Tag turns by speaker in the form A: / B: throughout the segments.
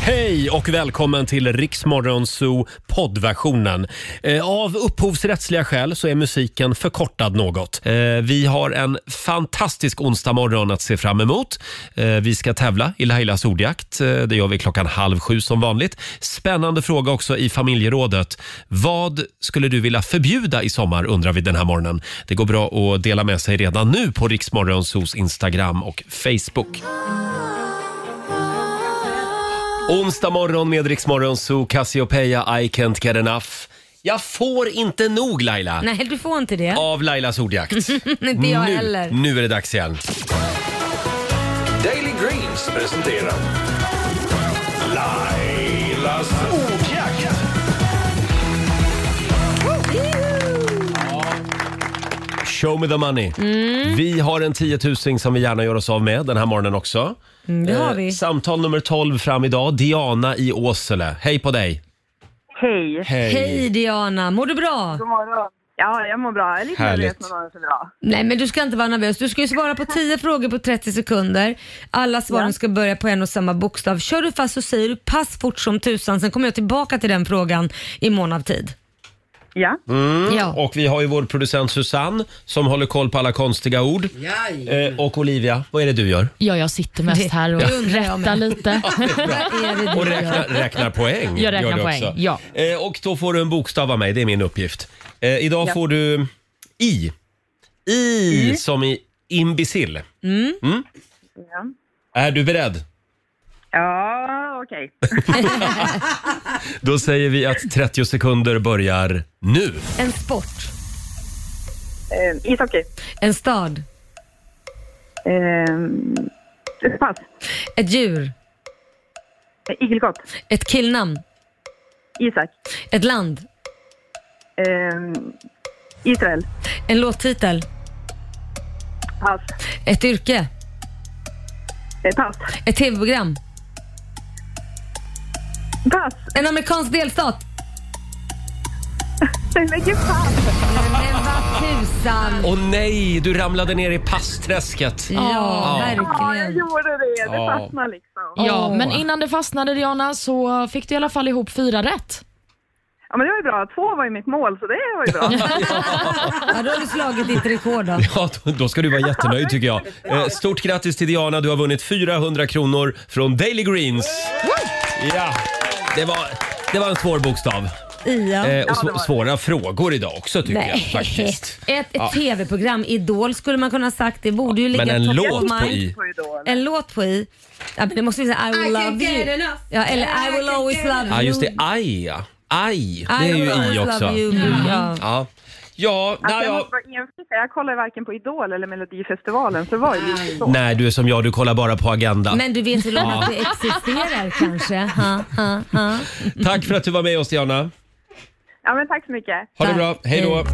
A: Hej och välkommen till Riksmorgon Zoo poddversionen. Eh, Av upphovsrättsliga skäl så är musiken förkortad något. Eh, Vi har en fantastisk onsdagmorgon att se fram emot. Eh, Vi ska tävla i Lailas ordjakt. Eh, Det gör vi klockan halv sju som vanligt. Spännande fråga också i familjerådet. Vad skulle du vilja förbjuda i sommar undrar vi den här morgonen. Det går bra att dela med sig redan nu på Riksmorgon Zoos Instagram och Facebook. Onsdag morgon med Rix Morgon Zoo, Cassiopeia, I can't get enough. Jag får inte nog Laila!
B: Nej, du får inte det.
A: Av Lailas ordjakt.
B: inte jag
A: nu,
B: heller.
A: nu är det dags igen.
C: Daily Greens presenterar Lailas ordjakt.
A: Show me the money.
B: Mm.
A: Vi har en tiotusing som vi gärna gör oss av med den här morgonen också.
B: Mm, det har
A: Eh,
B: vi.
A: Samtal nummer 12 fram idag. Diana i Åsele. Hej på dig!
D: Hej.
B: Hej Diana, mår du bra?
D: God morgon. Ja, jag mår bra. Jag är lite
A: Härligt.
D: nervös men har det så bra.
B: Nej men du ska inte vara nervös. Du ska ju svara på 10 frågor på 30 sekunder. Alla svaren ska börja på en och samma bokstav. Kör du fast så säger du pass fort som tusan. Sen kommer jag tillbaka till den frågan i mån av tid.
D: Ja.
A: Mm.
B: Ja.
A: Och vi har ju vår producent Susanne som håller koll på alla konstiga ord. Eh, och Olivia, vad är det du gör?
E: Ja, jag sitter mest här och
B: Det undrar jag
E: rättar
B: med.
E: lite.
B: Vad är det
A: Och
B: du
A: räkna,
B: gör?
A: räknar poäng.
E: Jag räknar
A: gör du
E: poäng,
A: också.
E: ja.
A: Eh, och då får du en bokstav av mig, det är min uppgift. Eh, idag får du I. I som i imbecill. Mm.
D: Ja,
A: Är du beredd?
D: ja okej.
A: Då säger vi att 30 sekunder börjar nu.
B: En sport.
D: Eh, ishockey.
B: En stad.
D: Eh, pass.
B: Ett djur.
D: Eh, Igelkott.
B: Ett killnamn.
D: Isak.
B: Ett land.
D: Eh, Israel.
B: En låttitel.
D: Pass.
B: Ett yrke.
D: Eh, pass.
B: Ett tv-program.
D: Pass.
B: En amerikansk delstat.
D: Nej, Men gud pass.
B: Men vad tusan.
A: Åh nej, du ramlade ner i passträsket.
B: Ja,
D: Ja, jag
B: verkligen.
D: gjorde det. Det
A: Ja.
D: fastnade liksom.
E: Ja,
B: Åh.
E: men innan det fastnade Diana så fick du i alla fall ihop fyra rätt.
D: Ja, men det var ju bra. Två var ju mitt mål, så det var ju bra.
B: Ja, då har du slagit ditt rekord då.
A: Ja, då- då ska du vara jättenöjd tycker jag. Eh, Stort grattis till Diana, du har vunnit 400 kronor från Daily Greens. Ja, det var, det var en svår bokstav.
B: Ia.
A: Eh, och
D: det
A: sv-
D: var det.
A: svåra frågor idag också tycker jag faktiskt.
B: Ett, ett tv-program, Idol skulle man kunna ha sagt. Det borde ju ligga
A: Men en
B: top of
A: låt på
B: mind.
A: i.
D: På Idol.
B: En låt på i. Ja, men det måste vi säga I will love you. Ja, eller I will always love you.
A: Ja just det, aj ja. Aj, det
B: I
A: är
B: will
A: ju i
B: always
A: också. Mm.
B: love you. Ja.
A: Ja, ja
D: Alltså,
A: nej,
D: jag,
A: ja.
D: måste vara enfika. jag kollar varken på Idol eller Melodifestivalen, så det var ju lite så.
A: nej, du är som jag, du kollar bara på Agenda.
B: Men du vet väl om att det existerar kanske? Ha, ha, ha.
A: Tack för att du var med oss Diana.
D: Ja, men tack så mycket.
A: Ha det
B: Tack.
A: bra, hej då.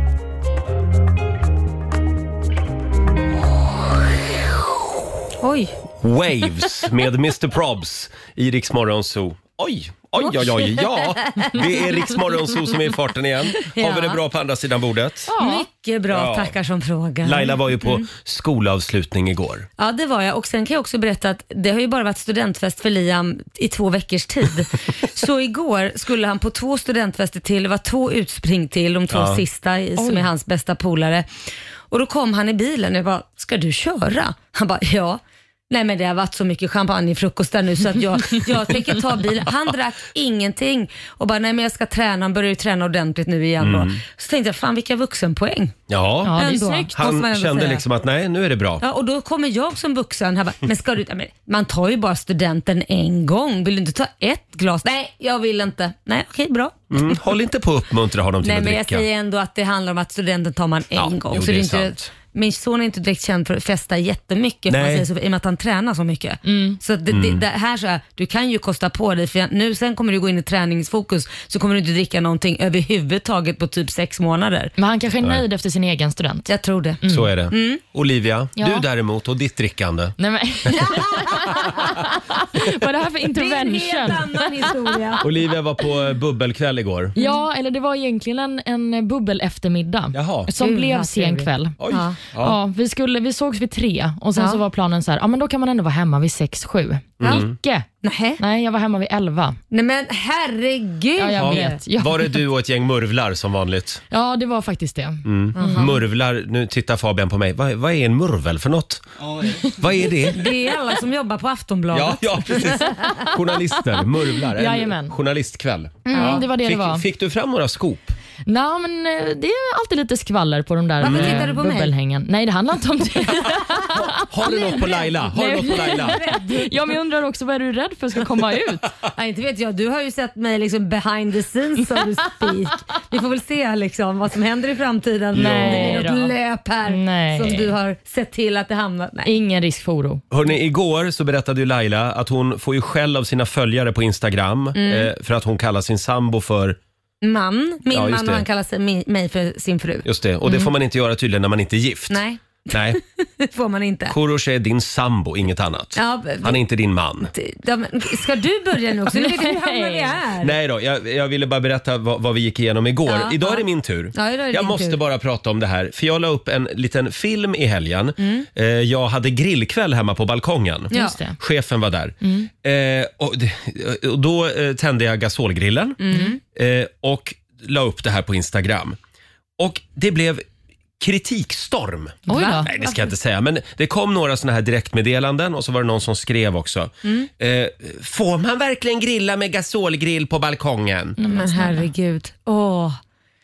B: Oj,
A: Waves med Mr Probs i Rix Morgon Zoo. Oj, oj, oj, oj, ja. Det är Rix Morgon Zoo som är i farten igen. Har vi det
B: Ja.
A: bra på andra sidan bordet?
E: Mm.
B: mycket bra.
A: Ja.
B: Tackar som frågar.
A: Laila var ju
B: Mm.
A: på skolavslutning igår.
B: Ja, det var jag. Och sen kan jag också berätta att det har ju bara varit studentfest för Liam i två veckors tid. så igår skulle han på två studentfester till, det var två utspring till, de två sista i, som är hans bästa polare. Och då kom han i bilen och jag bara, ska du köra? Han bara, ja. Nej men det har varit så mycket champagne i frukost där nu så att jag, jag tänker ta bilen. Han drack ingenting och bara, nej men jag ska träna, han börjar ju träna ordentligt nu igen då. Så tänkte jag, fan vilka vuxenpoäng.
A: Ja,
E: Mm. Ja, det är
B: Ändå.
E: snyggt.
B: måste man
A: han
B: ändå
A: kände
B: säga.
A: liksom att nej, nu är det bra.
B: Ja, och då kommer jag som vuxen här bara, men ska du, ja, men man tar ju bara studenten en gång, vill du inte ta ett glas? Nej, jag vill inte. Nej, okej, bra.
A: Mm, håll inte på att uppmuntra honom till
B: Nej,
A: att
B: men jag
A: dricka.
B: säger ändå att det handlar om att studenten tar man en
A: Ja,
B: gång.
A: jo,
B: så
A: det
B: är
A: är
B: inte,
A: sant.
B: Min son är inte direkt känd för att festa jättemycket
A: Nej. Mm.
B: Nej. Säger så, i och med att han tränar så mycket.
E: Mm.
B: Så att det, det, det här så här, du kan ju kosta på dig för jag- nu sen kommer du gå in i träningsfokus så kommer du inte dricka någonting överhuvudtaget på typ sex månader.
E: Men han kanske är nöjd efter sin egen student.
B: Jag tror det.
E: Mm.
A: Så är det.
B: Mm.
A: Olivia,
E: Ja.
A: du däremot och ditt drickande.
E: Nej, men. Vad är det här för intervention?
B: annan historia.
A: Olivia var på eh, bubbelkväll igår.
E: Ja, eller det var egentligen en, en bubbel eftermiddag
A: Jaha.
E: som
B: Gud,
E: blev
B: vad
E: sen
B: trevligt.
E: kväll.
A: Oj.
B: Ja.
E: Ja. vi, skulle, vi sågs vid tre och sen
B: Ja.
E: så var planen så här, ja men då kan man ändå vara hemma vid sex, sju.
A: Mm.
E: Icke.
B: Nej.
E: Nej, jag var hemma vid elva.
B: Nej men herregud.
E: Ja, jag vet. Jag
A: Var det
E: vet.
A: du och ett gäng murvlar som vanligt?
E: Ja, det var faktiskt det.
A: Mm. Murvlar, nu tittar Fabian på mig. Vad, vad är en murvel för något? Vad är det?
B: Det är alla som jobbar på Aftonbladet.
A: Ja, ja precis. Journalister, murvlar. En
E: Jajamän.
A: Journalistkväll.
E: Mm, Det var det
A: Fick,
E: det var.
A: fick du fram några skop?
E: Nej, men eh, det är alltid lite skvaller på de där
B: Varför
E: eh,
B: tittar du på mig?
E: bubbelhängen. Nej, det handlar inte om det.
A: Har du något på Laila? Har du
E: Nej.
A: något på Laila?
E: ja, men jag undrar också vad är du rädd för ska komma ut?
B: Nej, inte vet jag. Du har ju sett mig liksom behind the scenes so to speak. Vi får väl se liksom vad som händer i framtiden.
E: Nej
B: det är något
E: då.
B: löp här
E: Nej.
B: som du har sett till att det hamnar... Nej.
E: Ingen risk för oro.
A: Hörrni, igår så berättade ju Laila att hon får ju skäll av sina följare på Instagram
E: Mm.
A: eh, för att hon kallar sin sambo för
B: Man, min
A: Ja, just
B: man
A: det.
B: och han kallar sig, mi- mig för sin fru.
A: Just det, och
E: Mm.
A: det får man inte göra tydligen när man inte är gift.
B: Nej,
A: Nej.
B: det får man inte.
A: Korosh är din sambo, inget annat.
B: Ja, b-
A: Han är inte din man.
B: Ja, men Ska du börja nu också? Nu vet jag hur hamnar vi här.
A: Nej då, jag, jag ville bara berätta vad, vad vi gick igenom igår.
B: Ja,
A: idag
B: ja.
A: är det min tur.
B: Ja, idag är det
A: jag
B: din
A: måste
B: tur.
A: bara prata om det här, för jag la upp en liten film i helgen. Eh, jag hade grillkväll hemma på balkongen.
B: Mm. Ja. Mm.
E: Just det.
A: Chefen var där. Eh, och, det- och då eh, tände jag gasolgrillen
B: Mm.
A: eh, och la upp det här på Instagram. Och det blev kritikstorm.
E: Oj då.
A: Nej, det ska jag inte säga. Men det kom några såna här direktmeddelanden och så var det någon som skrev också.
B: Mm.
A: Eh, får man verkligen grilla med gasolgrill på balkongen?
B: Men herregud. Åh.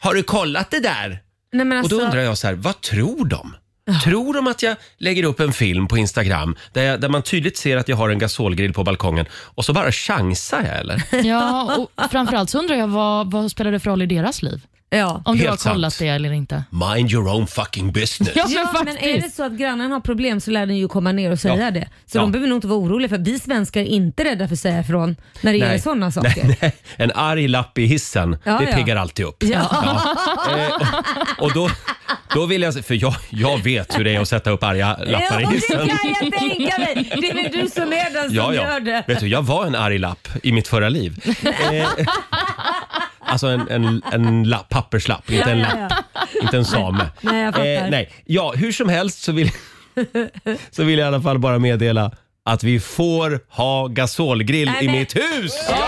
A: Har du kollat det där?
B: Nej, men
A: Och då
B: alltså,
A: undrar jag så här, vad tror de? Tror de att jag lägger upp en film på Instagram där, jag, där man tydligt ser att jag har en gasolgrill på balkongen och så bara chansar jag eller?
E: Ja, och framförallt så undrar jag vad, vad spelar det för roll i deras liv?
B: ja.
E: Om du
A: Helt
E: har kollat
A: sant.
E: det eller inte.
A: Mind your own fucking business.
E: Ja,
B: Ja, men är det så att grannen har problem så lär den ju komma ner och säga
A: Ja.
B: det. Så
A: Ja.
B: de behöver nog inte vara oroliga för vi svenskar är inte rädda för att säga ifrån när det gäller sådana saker.
A: Nej, nej. En arg lapp i hissen,
B: Ja,
A: det
B: ja.
A: piggar alltid upp.
B: Ja.
A: Eh, och, och då, då vill jag, se- för jag, jag vet hur det är att sätta upp arga lappar i
B: och det
A: hissen.
B: kan jag tänka mig. Det är väl du som är den som
A: Ja,
B: gör
A: ja.
B: det.
A: Vet du, jag var en arg lapp i mitt förra liv. Eh, alltså en, en, en lapp, papperslapp, inte en
B: Ja,
A: lapp,
B: ja,
A: inte en same.
B: Nej, jag fattar.
A: Eh, nej. Ja, hur som helst så vill, så vill jag i alla fall bara meddela att vi får ha gasolgrill
B: Nej,
A: i
B: men-
A: mitt hus!
B: Glad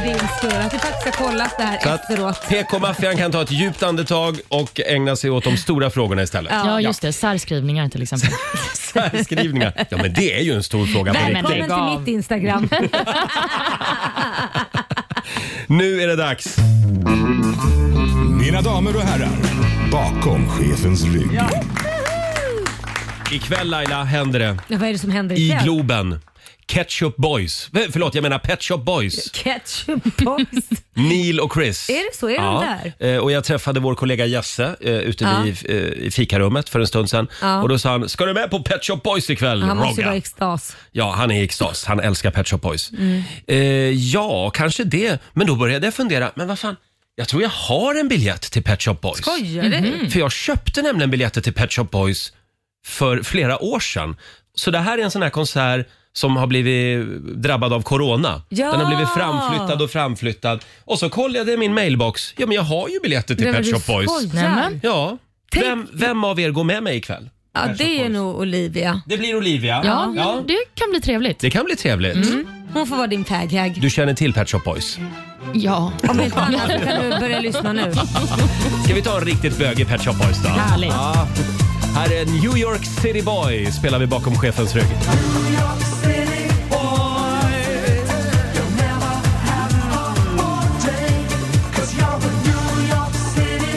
B: för din skull att du faktiskt har kollat det här
A: Så att
B: efteråt.
A: PK-maffian kan ta ett djupt andetag och ägna sig åt de stora frågorna istället.
E: Ja, just det. Särskrivningar till exempel.
A: Särskrivningar. Ja, men det är ju en stor fråga på
E: Nej, men
A: riktigt.
E: lägg
B: Välkommen till
E: av.
B: mitt Instagram.
A: Nu är det dags.
F: Mina damer och herrar, bakom chefens rygg.
A: Ikväll Laila händer det
B: Ja, Vad är det som händer
A: i
B: ikväll?
A: Globen. Ketchup Boys. V- Förlåt, jag menar Pet Shop Boys.
B: Ketchup boys.
A: Neil och Chris.
B: Är det så? Är de
A: där? Och jag träffade vår kollega Jesse eh, ute
B: Ja.
A: vid, eh, i fikarummet för en stund sedan.
B: Ja.
A: Och då sa han, ska du med på Pet Shop Boys ikväll
B: Han måste ju
A: Rogga?"
B: vara i Mm. extas.
A: Ja, han är i extas. Han älskar Pet Shop Boys. Eh, ja, kanske det. Men då började jag fundera, men vad fan, jag tror jag har en biljett till Pet Shop Boys.
B: Skojar du?
A: För jag köpte nämligen biljetter till Pet Shop Boys för flera år sedan. Så det här är en sån här konsert som har blivit drabbad av corona.
B: Ja!
A: Den har blivit framflyttad och framflyttad. Och så kollade jag i min mailbox. Ja, men jag har ju biljetter till
B: Nej, men
A: Pet
B: du
A: Shop Boys.
B: skojar.
E: Nämen.
A: Ja.
B: Tänk-
A: Vem, vem av er går med mig ikväll?
B: Ja, det är nog Olivia.
A: Det blir Olivia.
E: Ja, men det kan bli trevligt.
A: Det kan bli trevligt.
B: Hon får vara din fag-hag.
A: Du känner till Pet Shop Boys?
E: Ja.
B: Om inte annat så kan du börja lyssna nu.
A: Ska vi ta en riktigt bögig Pet Shop Boys då?
E: Härligt.
A: Ja. Här är New York City Boy spelar vi bakom chefens rygg.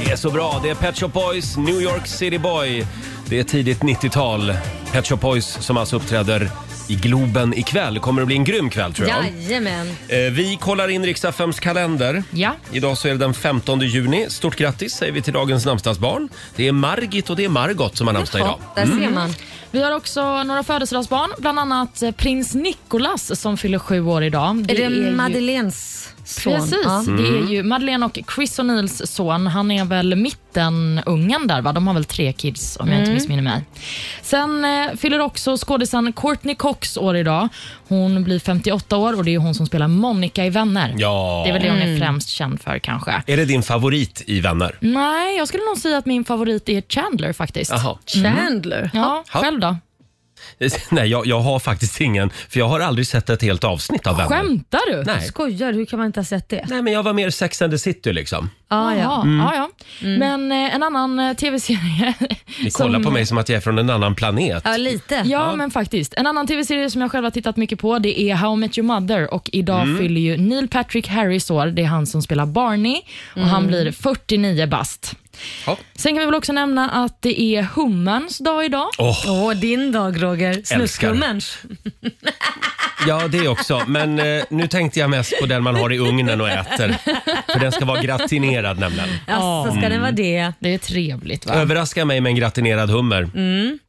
A: Det är så bra. Det är Pet Shop Boys, New York City Boy. Det är tidigt 90-tal. Pet Shop Boys som alltså uppträder i Globen ikväll. Kommer att bli en grym kväll tror jag.
B: Jajamän.
A: Eh, Vi kollar in riksdagsfems kalender.
E: Ja.
A: Idag så är det den 15 juni. Stort grattis säger vi till dagens namnsdagsbarn. Det är Margit och det är Margot som har namnsdag idag.
B: där ser man.
E: Vi har också några födelsedagsbarn, bland annat eh, prins Nicolas som fyller sju år idag.
B: Är det Mm.
E: ju-
B: Madeleines? son.
E: Precis,
B: Ja.
E: det är ju Madeleine och Chris O'Neills son. Han är väl mittenungen där va? De har väl tre kids om
B: Mm.
E: jag inte missminner mig. Sen eh, fyller också skådisen Courtney Cox år idag. Hon blir 58 år och det är hon som spelar Monica i Vänner.
A: Ja.
E: Det är väl det hon
B: Mm.
E: är främst känd för kanske.
A: Är det din favorit i Vänner?
E: Nej, jag skulle nog säga att min favorit är Chandler faktiskt.
A: Jaha.
B: Chandler.
E: Ja,
A: Ja.
E: själv då?
A: Mm. Nej, jag, jag har faktiskt ingen, för jag har aldrig sett ett helt avsnitt av Vänner.
E: Skämtar du?
A: Nej.
B: Skojar du? Hur kan man inte ha sett det?
A: Nej, men jag var mer Sex and the City liksom.
B: Ah, ja. Mm.
E: Ja, ja, ja. Men eh, en annan eh, tv-serie.
A: Ni kollar
E: som-
A: på mig som att jag är från en annan planet.
B: ja, lite.
E: Ja, men faktiskt. En annan tv-serie som jag själv har tittat mycket på det är How I Met Your Mother och idag fyller ju Neil Patrick Harris år. Det är han som spelar Barney och han blir 49 bast.
A: Ja.
E: Sen kan vi väl också nämna att det är hummerns dag idag.
A: Åh,
B: Åh, din dag Roger. Snuskhummerns.
A: ja, det också. Men eh, nu tänkte jag mest på den man har i ugnen och äter. För den ska vara gratinerad nämligen.
B: Alltså, ska den vara det?
E: Det är trevligt va?
A: Överraska mig med en gratinerad hummer.
E: Mm.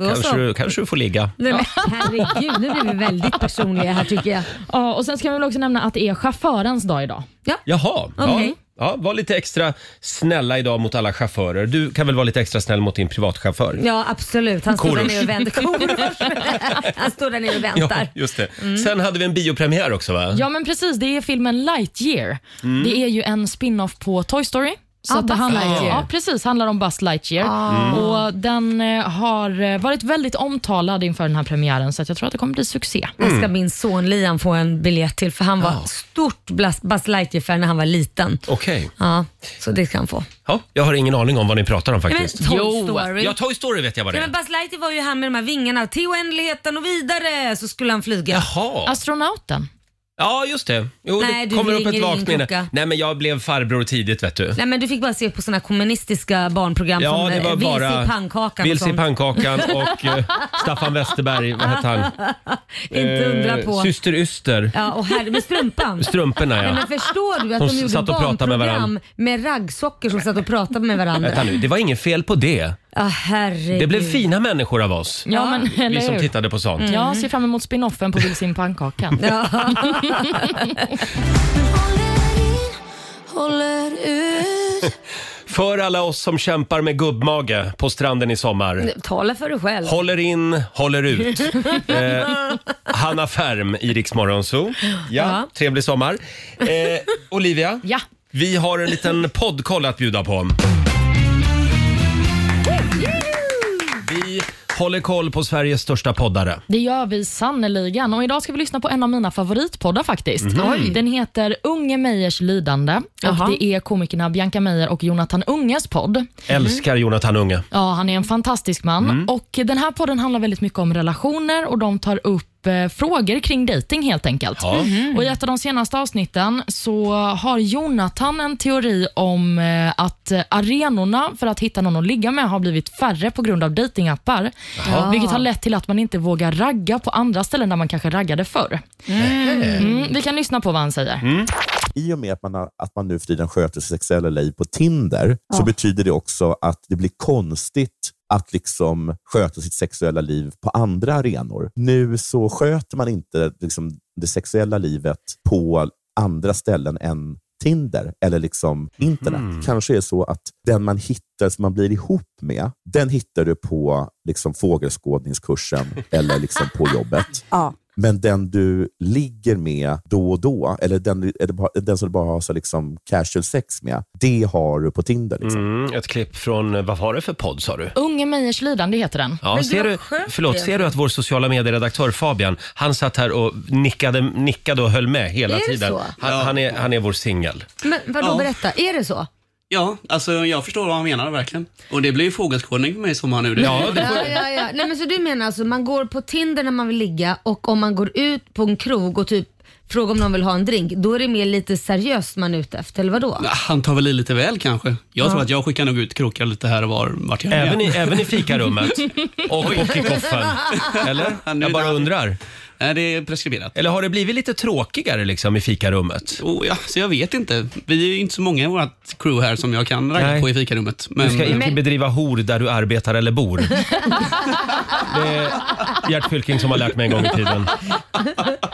B: Då
A: Kanske,
B: så.
A: du, kanske du får ligga.
B: Nej, men, herregud, nu blir vi väldigt personliga här tycker jag.
E: Ja, och sen ska vi väl också nämna att det är chaufförens dag idag.
A: Jaha. Ja.
B: Okej.
A: Ja, var lite extra snälla idag mot alla chaufförer. Du kan väl vara lite extra snäll mot din privatchaufför?
B: Ja, absolut. Han står där
A: Korosh.
B: nere och väntar. Korosh. Han står där Mm. nere och
A: Ja,
B: väntar.
A: just det. Sen hade vi en biopremiär också va?
E: Ja, men precis. Det är filmen Lightyear.
A: Mm.
E: Det är ju en spin-off på Toy Story. Så
B: Ah,
E: att det
B: Buzz
E: handlar,
B: Lightyear. Ah.
E: Ja, precis. handlar om Buzz Lightyear. Och Den eh, har eh, varit väldigt omtalad inför den här premiären, så att jag tror att det kommer bli succé.
B: Här ska min son Liam få en biljett till för han var stort Buzz- Buzz Lightyear-fan när han var liten.
A: Okej.
B: Ja, så det ska han få.
A: Ja, jag har ingen aning om vad ni pratar om faktiskt.
B: Men Toy Story.
A: Ja, Toy Story vet jag vad det
B: Nej,
A: är.
B: men Buzz Lightyear var ju han med de här vingarna till oändligheten och vidare så skulle han flyga.
A: Jaha.
E: Astronauten.
A: Ja, just det. Jo,
B: Alltså- Nej,
A: det
B: du
A: kommer upp ett
B: ringer
A: vagt
B: ingen
A: minne.
B: klocka.
A: Nej, men jag blev farbror tidigt vet du.
B: Nej men du fick bara se på såna kommunistiska barnprogram
A: Ja,
B: som
A: det var
B: eh,
A: bara...
B: Vilse i pannkakan och
A: Vilse i
B: sånt.
A: pannkakan och eh, Staffan Westerberg, vad hette han?
B: Inte undra
A: Eh,
B: på.
A: Syster Yster.
B: Ja, och här med strumpan.
A: Strumporna
B: Nej,
A: ja.
B: men förstår du att
A: De
B: de,
A: s-
B: gjorde
A: satt och pratade med
B: barnprogram med,
A: varandra.
B: raggsockor som satt och pratade med varandra?
A: Vänta nu, det var inget fel på det.
B: Ja, herregud.
A: Det blev fina människor av oss.
E: Ja, men eller
A: Vi som Mm.
E: hur?
A: tittade på sånt.
B: Mm.
E: Jag ser fram emot spin-offen på Vilse i en pannkakan.
A: För alla oss som kämpar med gubbmage på stranden i sommar.
B: Tala för dig själv.
A: Håller in, håller ut. Eh, Hanna Färm i Rix Morgon Zoo. Ja,
B: Ja.
A: trevlig sommar. Eh, Olivia,
E: Ja.
A: vi har en liten poddkoll att bjuda på. Vi håller koll på Sveriges största poddare.
E: Det gör vi sannoliken. Och idag ska vi lyssna på en av mina favoritpoddar faktiskt.
A: Mm.
E: Den heter Unge Meyers lidande
B: Jaha.
E: och det är komikerna Bianca Meyer och Jonathan Unges podd.
B: Mhm.
A: Älskar Jonathan Unge.
E: Ja, han är en fantastisk man. Och Den här podden handlar väldigt mycket om relationer och de tar upp eh, frågor kring dating helt enkelt. Mm.
A: Ja.
E: Och I ett av de senaste avsnitten så har Jonathan en teori om eh, att eh, arenorna för att hitta någon att ligga med har blivit färre på grund av datingappar. Vilket har lett till att man inte vågar ragga på andra ställen där man kanske raggade förr. Mm, vi kan lyssna på vad han säger.
G: I och med att man, har, att man nu för tiden sköter sitt sexuella liv på Tinder så betyder det också att det blir konstigt att liksom sköta sitt sexuella liv på andra arenor. Nu så sköter man inte liksom det sexuella livet på andra ställen än Tinder eller liksom internet. Kanske är det så att den man hittar, som man blir ihop med, den hittar du på liksom fågelskådningskursen eller liksom på jobbet. Men den du ligger med då och då, eller den, eller bara- den som du bara har så liksom casual sex med, det har du på Tinder. Liksom.
A: Mm, ett klipp från, vad var det för podd sa du?
E: Unge Meyers lidande heter den.
A: Ja,
B: Men
A: ser
B: vad
A: du,
B: skönt
A: förlåt,
B: det är.
A: ser du att vår sociala medieredaktör Fabian, han satt här och nickade, nickade och höll med hela
B: Är det
A: tiden.
B: så?
A: Han, han, är, han är vår singel.
B: Men vadå,
H: Ja.
B: berätta. Är det så?
H: Ja, alltså jag förstår vad han menar verkligen. Och det blir ju fågelskådning för mig som han nu.
A: Ja, det får-
B: Ja, ja, ja. Nej, men så du menar alltså, man går på Tinder när man vill ligga och om man går ut på en krog och typ frågar om någon vill ha en drink, då är det mer lite seriöst man är ute efter, eller vadå?
H: Han tar väl i lite väl kanske. Jag tror att jag skickar nog ut krokar lite här och var vart jag är.
A: även, i, även i fikarummet och på kickoffen. Eller?
H: Ja, nu
A: Jag bara
H: där.
A: undrar.
H: Nej, det är preskriberat.
A: Eller har det blivit lite tråkigare liksom i fikarummet?
H: Oh, ja, så jag vet inte. Vi är ju inte så många i vårt crew här som jag kan ragga
A: Nej.
H: på i fikarummet. Men,
A: Du ska inte
B: Men-
A: bedriva hor där du arbetar eller bor. Det är Gert Fylking som har lärt mig en gång i tiden.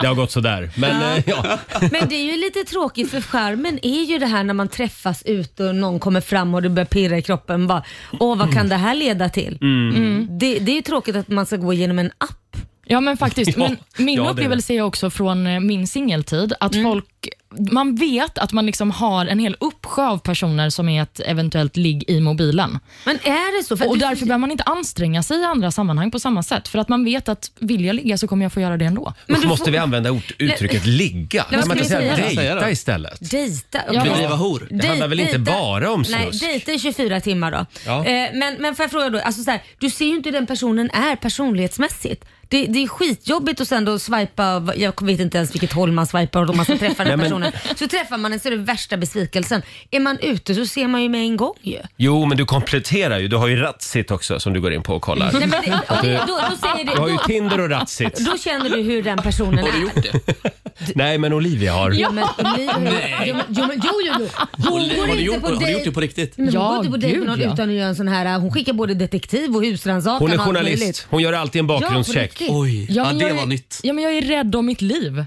A: Det har gått sådär. Men eh, ja.
B: Men det är ju lite tråkigt för skärmen är ju det här när man träffas ute och någon kommer fram och det börjar pirra i kroppen. Bara, Åh, vad kan det här leda till? Mm. Det, det är ju tråkigt att man ska gå igenom en app.
E: Ja men faktiskt.
A: Ja,
E: men min
A: ja, det är
E: upplevelse är också från eh, min singeltid att
B: Mm.
E: folk, man vet att man liksom har en hel uppsjö av personer som är ett eventuellt ligg i mobilen.
B: Men är det så? För
E: Och
B: du-
E: därför behöver man inte anstränga sig i andra sammanhang på samma sätt. För att man vet att vill jag ligga så kommer jag få göra det ändå.
A: Usch, måste vi använda ort, uttrycket ligga?
B: vad
A: Kan man
B: skulle
A: inte
B: jag
A: säga
H: säga då?
A: dejta istället?
B: Dejta?
E: Ja.
B: Okej.
H: Bedriva hor.
A: Det handlar väl inte
B: Dejta-
A: bara om snusk?
B: Nej, dejta i 24 timmar då.
A: Ja.
B: Eh, men, men får jag fråga då, alltså så här, du ser ju inte hur den personen är personlighetsmässigt. Det, det är skitjobbigt att sen då swipa, jag vet inte ens vilket håll man swipar och då man ska träffa den
A: Nej, men-
B: personen. Så träffar man den så är det värsta besvikelsen. Är man ute så ser man ju med en gång ju.
A: Jo, men du kompletterar ju. Du har ju Ratsit också som du går in på och kollar.
B: Nej, men det, ja, det, då, då, säger
A: Du har
B: du,
A: ju
B: då,
A: Tinder och Ratsit.
B: då känner du hur den personen
H: Har du
B: är.
H: gjort det?
A: Nej, men Olivia har.
B: Jo, men, Olivia- jo, men, jo, men, jo, jo, jo. Hon går
H: Har du
B: inte
H: gjort,
B: på
H: har du gjort
B: dejt
H: det på riktigt?
A: Mm.
B: Men hon
E: Ja,
B: går inte på dejt med
E: gud,
B: någon
E: ja.
B: utan att göra en sån här, äh, hon skickar både detektiv och husrannsakan
A: Hon är
B: och allt möjligt.
A: journalist. Hon gör alltid en bakgrundscheck.
B: Ja, på
H: Oj,
B: riktigt.
H: ja,
E: men
H: det
E: jag
H: var
E: är,
H: nytt.
E: Ja, men jag är rädd om mitt liv.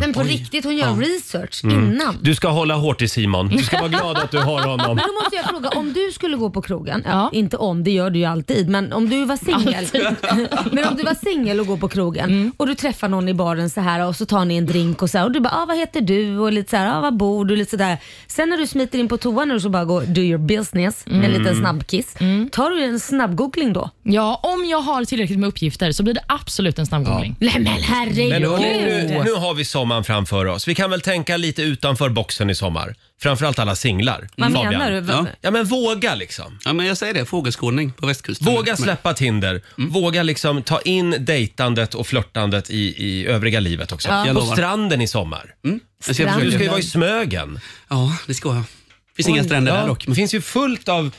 B: Men på riktigt, hon gör research innan.
A: Mm. Du ska hålla hårt i Simon. Du ska vara glad att du har honom.
B: Men då måste jag fråga, om du skulle gå på krogen, ja.
E: Ja.
B: inte om, det gör du ju alltid, men om du var singel Men om du var singel och går på krogen
E: Mm.
B: och du träffar någon i baren så här och så tar ni en drink och så här, och du bara ah, “Vad heter du?” och lite så här, ah, “Vad bor du?” lite så där. Sen när du smiter in på toan och så bara går “Do your business” en
E: Mm.
B: liten snabbkiss. Tar du en snabbgoogling då?
E: Ja, om jag har tillräckligt med uppgifter så blir det absolut en snabbgoogling.
B: Nej men herregud!
A: Men hörni, nu, nu har vi sommaren framför oss. Vi kan väl tänka lite utanför boxen i sommar. Framförallt alla singlar.
B: Vad
A: Fabian.
B: menar du?
H: Ja.
A: Ja, men våga liksom.
H: Ja, men jag säger det, fågelskådning på västkusten.
A: Våga släppa Tinder.
H: Mm.
A: Våga liksom ta in dejtandet och flörtandet i, i övriga livet också.
H: Jag
A: På
H: lovar.
A: stranden i sommar.
H: Mm. Jag ska
B: Strand.
A: Du
H: försöka.
A: ska ju vara i Smögen.
H: Ja, det ska jag. finns inga stränder där
A: Ja,
H: dock.
A: det finns ju fullt av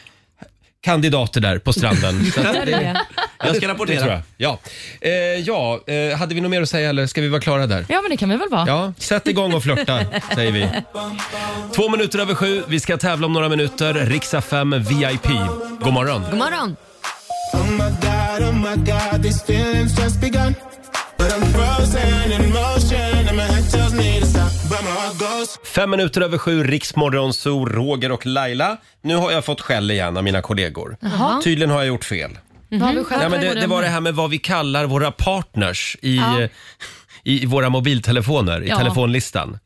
A: kandidater där på stranden. Så att det-
H: Jag ska
A: Det tror jag.
H: rapportera.
A: Ja, eh, ja eh, hade vi något mer att säga eller ska vi vara klara där?
E: Ja, men det kan vi väl vara?
A: Ja, sätt igång och flörta, säger vi. Två minuter över sju. Vi ska tävla om några minuter. Riksa 5 VIP. God morgon.
B: God morgon!
A: Fem minuter över sju, Riksmorgon, Zoo, Roger och Laila. Nu har jag fått skäll igen av mina kollegor. Tydligen har jag gjort fel.
E: Vad har vi själv
A: Mm. Ja, men det,
E: på
A: det var det här med vad vi kallar våra partners i, i, i våra mobiltelefoner, i
E: Ja.
A: telefonlistan.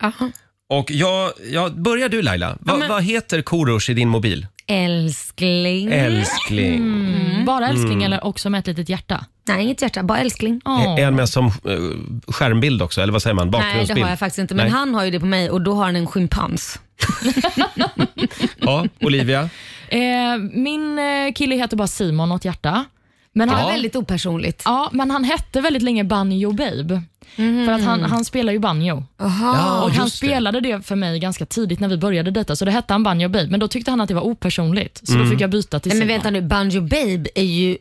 A: Och jag, jag, börjar du Laila, Va, vad heter Korosh i din mobil?
B: Älskling.
A: Älskling.
E: Mm. Bara älskling eller också med ett litet hjärta?
B: Nej, inget hjärta, bara älskling.
E: Åh.
A: Är han med som eh, skärmbild också, eller vad säger man?
B: Nej,
A: Bakgrundsbild?
B: det har jag faktiskt inte. Men
A: Nej.
B: han har ju det på mig och då har han en schimpans.
A: Ja, Olivia?
E: Eh, min eh, kille heter bara Simon och ett hjärta. Men
B: Det
E: han,
B: var väldigt opersonligt.
E: ja, men han hette väldigt länge Banjo Babe.
B: Mhm.
E: För att han, han spelar ju banjo.
A: Ja,
E: och han
A: just det.
E: spelade det. för mig ganska tidigt när vi började dejta, så det hette han Banjo Babe. Men då tyckte han att det var opersonligt, så
A: Mm.
E: då fick jag byta till
B: Nej, men
E: Simon.
B: vänta nu, Banjo Babe är ju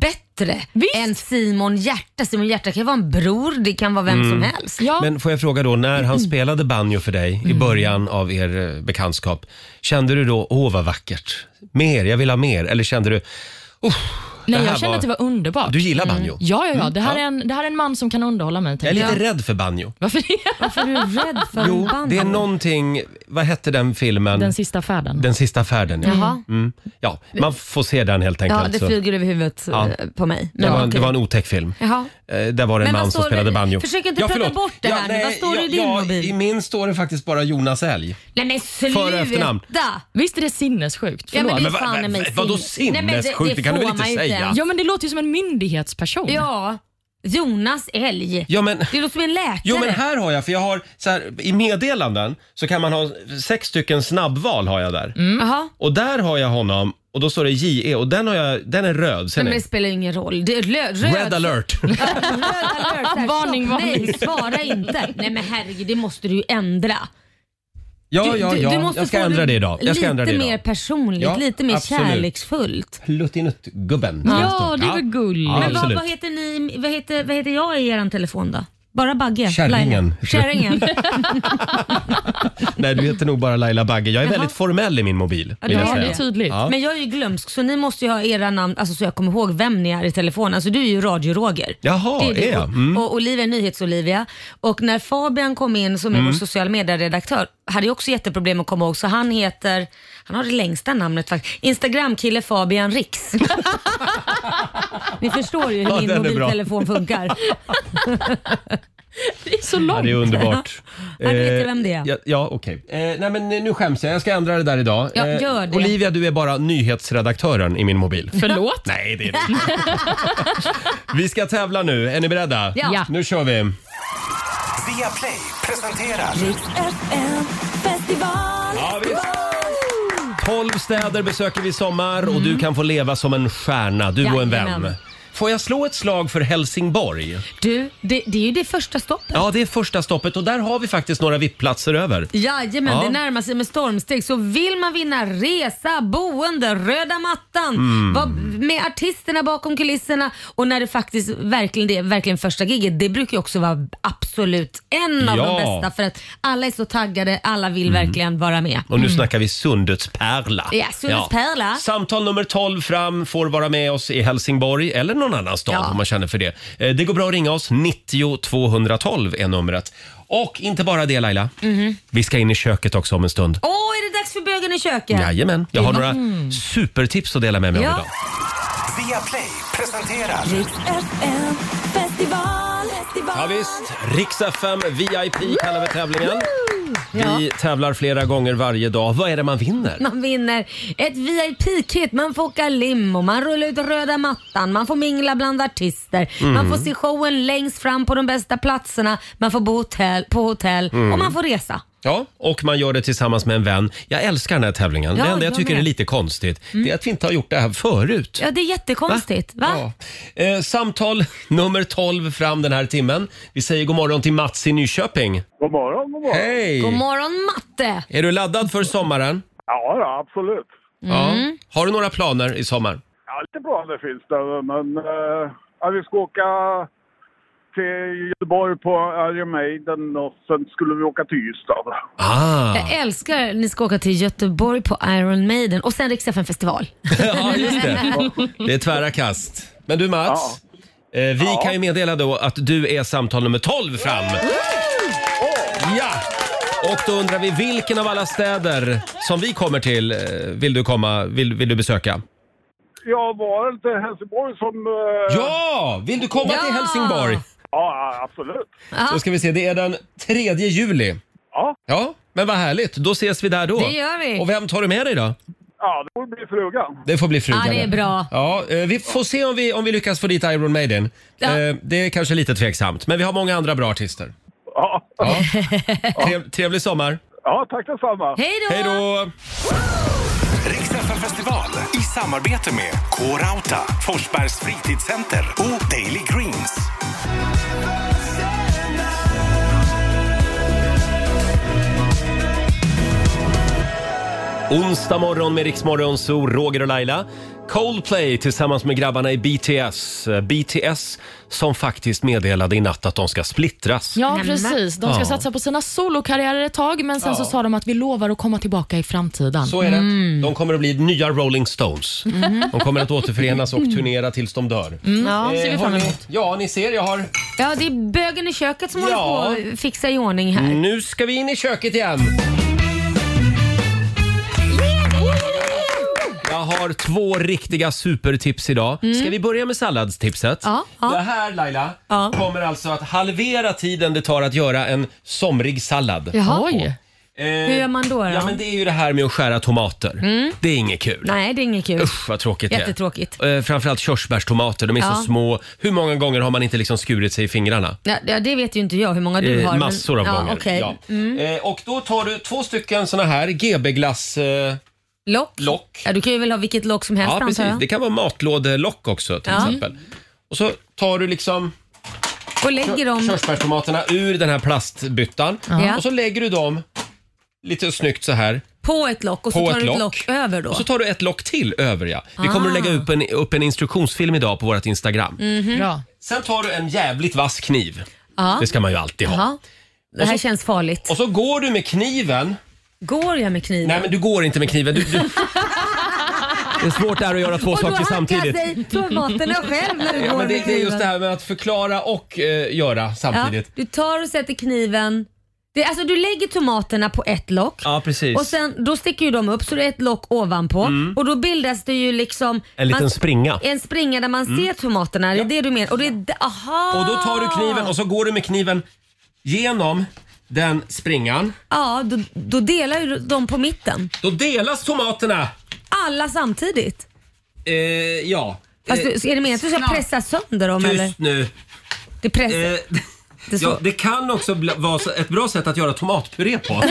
B: bättre
E: Visst.
B: än Simon Hjärta. Simon Hjärta kan ju vara en bror, det kan vara vem
A: Mm.
B: som helst.
E: Ja,
A: Men får jag fråga då, när
B: Mm.
A: han spelade banjo för dig i början av er eh, bekantskap, kände du då, åh vad vackert, mer, jag vill ha mer? Eller kände du,
E: nej,
A: det här
E: jag kände
A: var-
E: att det var underbart.
A: du gillar
B: Mm.
A: banjo?
E: Ja, ja, ja. Det här, är en, det här är en man som kan underhålla mig.
A: Jag är
E: tänkte
A: lite
E: jag.
A: rädd för banjo.
E: Varför det?
B: Varför är du rädd för
A: Jo,
B: en banjo?
A: det är någonting, vad hette den filmen?
E: Den sista färden.
A: Den sista färden, ja.
B: Jaha.
A: Mm. ja. Man får se den helt enkelt.
B: Ja, det
A: så.
B: flyger över huvudet eh,
A: Alltså. Ja.
B: på mig.
A: det, var en, det
B: okej.
A: var en otäck film.
B: Jaha.
A: Eh, Där var det en
B: Men vad
A: man som
B: står det-
A: spelade banjo.
B: försök inte prata
A: förlåt.
B: bort det här nu. Vad står det i din
A: ja,
B: mobil?
A: I min står det faktiskt bara Jonas Älg.
B: Nej men sluta!
A: Före och efternamn.
E: Visst är det sinnessjukt?
B: Ja, men
E: Förlåt.
B: det är
A: Men vad-
B: fan i
A: vad-
B: mig
A: vadå
B: sinne- Nej, men
A: sinnessjukt? Det kan du
B: får
A: väl inte
B: man ju
A: säga?
E: Ja, men det låter ju som en myndighetsperson.
B: Ja, Jonas Älg.
A: Ja, men...
B: Det låter som en läkare.
A: Jo men här har jag, för jag har så här, i meddelanden så kan man ha sex stycken snabbval har jag där.
B: Mm. Jaha.
A: Och där har jag honom och då står det JE och den, har jag, den är röd. Ser
B: Nej, men
A: ni?
B: det spelar ju ingen roll. Det är lö- röd,
A: Red alert.
B: Röd alert. så här,
E: Varning,
B: stopp.
E: varning.
B: Nej, svara inte. Nej men herregud, det måste du ju ändra.
A: Ja,
B: Du-
A: ja,
B: du- du
A: ja.
B: måste
A: Jag ska
B: få
A: ändra
B: det
A: det idag. Jag ska ändra det
B: Lite mer
A: idag.
B: personligt,
A: Ja,
B: lite mer
A: absolut.
B: kärleksfullt.
A: Pluttinuttgubben.
E: Ja, det är väl gulligt.
A: Ja,
B: Men vad,
A: absolut.
B: vad, heter ni, vad, heter, vad heter jag i er telefon då? Bara Bagge.
A: Kärringen.
B: Laila. Kärringen.
A: Nej, du heter nog bara Laila Bagge. Jag är
B: Jaha.
A: väldigt formell i min mobil.
B: Ja,
A: vill jag
B: det är
E: Ja,
A: säga.
E: det är tydligt.
A: Ja.
B: Men jag är ju glömsk så ni måste ju ha era namn, alltså så jag kommer ihåg vem ni är i telefon. Alltså du är ju radio-Roger.
A: Jaha,
B: Det
A: är
B: du.
A: jag? Mm.
B: Och Olivia är nyhets-Olivia. Och när Fabian kom in som är
A: Mm.
B: vår social medieredaktör hade jag också jätteproblem att komma ihåg så han heter, han har det längsta namnet faktiskt, Instagramkille Fabian Riks. Ni förstår ju hur
A: Ja,
B: min
A: den är bra.
B: mobiltelefon funkar.
E: Det är så
A: Ja,
E: långt.
A: det är underbart.
B: Ja, nu vet jag
A: Eh,
B: vem det är.
A: Ja, ja okej. Eh, nej, men nu skäms jag. Jag ska ändra det där idag.
B: Ja,
A: Eh,
B: gör det.
A: Olivia, du är bara nyhetsredaktören i min mobil.
E: Förlåt?
A: Nej, det är det inte. Vi ska tävla nu. Är ni beredda?
B: Ja. Ja.
A: Nu kör vi.
C: Via Play presenterar
A: Ja, visst. 12 städer besöker vi i sommar och du kan få leva som en stjärna, du och en
B: Mm. Jajamän.
A: vän. Får jag slå ett slag för Helsingborg?
B: Du, det, det är ju det första stoppet.
A: Ja, det är första stoppet och där har vi faktiskt några VIP-platser över.
B: Jajamän,
A: Ja.
B: det närmar sig med stormsteg. Så vill man vinna resa, boende, röda mattan,
A: Mm.
B: vara med artisterna bakom kulisserna och när det faktiskt verkligen det är verkligen första giget. Det brukar ju också vara absolut en av
A: Ja. Mm.
B: de bästa för att alla är så taggade, alla vill verkligen vara med.
A: Och nu snackar vi Sundets pärla.
B: Mm. Ja, Sundets pärla.
A: Samtal nummer 12 fram får vara med oss i Helsingborg eller någon annan stad
B: Ja.
A: om man känner för det. Eh, Det går bra att ringa oss. 90 212 är numret. Och inte bara det Laila.
B: Mhm.
A: Vi ska in i köket också om en stund.
B: Åh, är det dags för bögen i köket?
A: Jajamän, jag har några supertips att dela med mig av
B: Mm. Ja.
A: idag.
C: Via Play presenterar
A: Ja, visst. Rix FM VIP kallar vi tävlingen. Vi tävlar flera gånger varje dag. Vad är det man vinner?
B: Man vinner ett VIP-kit, man får åka limo, man rullar ut röda mattan, man får mingla bland artister, man får se showen längst fram på de bästa platserna, man får bo hotell, på hotell och man får resa.
A: Ja, och man gör det tillsammans med en vän. Jag älskar den här tävlingen.
B: Ja,
A: det enda jag
B: jag
A: tycker
B: med. Mm.
A: är lite konstigt det är att vi inte har gjort det här förut.
B: Ja, det är jättekonstigt. Va?
A: Ja. Eh, samtal nummer 12 fram den här timmen. Vi säger god morgon till Mats i Nyköping.
I: God morgon, god morgon.
A: Hej!
B: God morgon matte!
A: Är du laddad för sommaren?
I: Ja, ja absolut.
B: Mm.
A: Ja. Har du några planer i sommar?
I: Ja, lite planer finns det, men eh, ja, vi ska åka till Göteborg på Iron Maiden och sen skulle vi åka till Ystad.
A: Ah.
B: Jag älskar att ni ska åka till Göteborg på Iron Maiden och sen Rix FM festival.
A: Ja, just det. Det är tvära kast. Men du Mats, eh, vi kan ju meddela då att du är samtal nummer 12 fram. Ja! Och då undrar vi vilken av alla städer som vi kommer till eh, vill du komma, vill, vill du besöka?
I: Ja, var det inte Helsingborg som... eh,
A: Ja! Vill du komma till
B: Ja!
A: Helsingborg?
I: ja, absolut.
A: Då ska vi se, det är den 3 juli.
I: Ja.
A: Ja, men vad härligt. Då ses vi där då.
B: Det gör vi.
A: Och vem tar du med dig då?
I: Ja, det borde bli frugan.
A: Det får bli frugan.
B: Ja, det är bra.
A: Ja, eh, vi får se om vi, om vi lyckas få dit Iron Maiden.
B: Ja.
A: Eh, Det är kanske lite tveksamt, men vi har många andra bra artister.
I: Ja,
A: Ja. Trev, trevlig sommar.
I: ja tack detsamma.
B: Hej då!
A: Hej då!
C: Rix FM festival i samarbete med K-Rauta, Forsbergs fritidscenter och Daily Greens.
A: Onsdag morgon med Riksmorgon, så Roger och Laila. Coldplay tillsammans med grabbarna i BTS. Eh, BTS som faktiskt meddelade i natt att de ska splittras.
E: Ja,
B: Nämen.
E: precis. De ska
A: Ja.
E: satsa på sina solokarriärer ett tag, men sen så sa de att vi lovar att komma tillbaka i framtiden.
A: Så är det.
E: Mm.
A: De kommer att bli nya Rolling Stones.
E: Mhm.
A: De kommer att återförenas och turnera tills de dör.
B: Ja.
A: Eh,
E: Mm. ser vi
A: har
E: fram
A: ni,
E: emot.
A: ja, ni ser, jag har...
B: Mm. ja, det är bögen i köket som
A: Ja. Mm.
B: håller på att fixa i ordning här.
A: Nu ska vi in i köket igen. Jag har två riktiga supertips idag. Ska vi börja med salladstipset?
B: Mm. Ja, ja.
A: Det här Laila
B: Ja.
A: kommer alltså att halvera tiden det tar att göra en somrig sallad.
B: Jaha.
A: Mm.
E: Oj.
B: Hur gör man då? då?
A: Ja men det är ju det här med att skära tomater. Det är inget kul.
B: Mm. Nej, det är inget kul.
A: Usch vad tråkigt det är.
B: Jättetråkigt.
A: Eh, Framförallt körsbärstomater, de är så
B: Ja.
A: små. Hur många gånger har man inte liksom skurit sig i fingrarna?
B: Ja, ja, det vet ju inte jag hur många du
A: Eh,
B: har. men-
A: massor av
B: ja,
A: gånger.
B: okej. Mm.
A: Ja. Eh, och då tar du två stycken såna här GB glass... Eh,
B: Lock.
A: Lock.
B: Ja, du kan ju väl ha vilket lock som helst
A: ja,
B: antar
A: precis.
B: jag.
A: Det kan vara matlådelock också till
B: Ja.
A: exempel. Och så tar du liksom
B: Och lägger dem...
A: körsbärstomaterna ur den här plastbyttan
B: Ja.
A: och så lägger du dem lite snyggt så här.
B: På ett lock och så
A: På
B: tar
A: ett
B: du ett
A: lock.
B: lock över då.
A: Och så tar du ett lock till över ja. Vi kommer att lägga
B: Ah.
A: upp
B: Mm. Mm-hmm.
A: en, upp en instruktionsfilm idag på vårt Instagram.
E: Bra.
A: Sen tar du en jävligt vass kniv.
B: Ja.
A: Det ska man ju alltid ha.
B: Jaha. Det här känns farligt.
A: Och så går du med kniven.
B: Går jag med kniven?
A: Nej, men du går inte med kniven. Du, du... Det är svårt där att göra två
B: och då
A: saker
B: hackar
A: samtidigt.
B: sig tomaterna själv när du
A: Ja,
B: går
A: men det,
B: med
A: det är
B: kniven.
A: just det här med att förklara och eh, göra samtidigt.
B: Ja, du tar och sätter kniven. Det, alltså du lägger tomaterna på ett lock.
A: Ja, precis. Mm.
B: Och sen, då sticker ju de upp så det är ett lock ovanpå och då bildas det ju liksom
A: En liten
B: man-
A: springa.
B: En springa där man ser tomaterna, det är det du menar? Och, det är, d- aha.
A: Mm. Och då tar du kniven och så går du med kniven genom den springan.
B: Ja, då, då delar ju de på mitten.
A: Då delas tomaterna.
B: Alla samtidigt.
A: Eh, ja.
B: Fast,
A: Eh,
B: du- är det meningen att du ska pressa sönder dem eller?
A: tyst nu.
B: Det pressar,
A: Eh,
B: det är så.
A: ja, det kan också bli- vara så- ett bra sätt att göra tomatpuré på.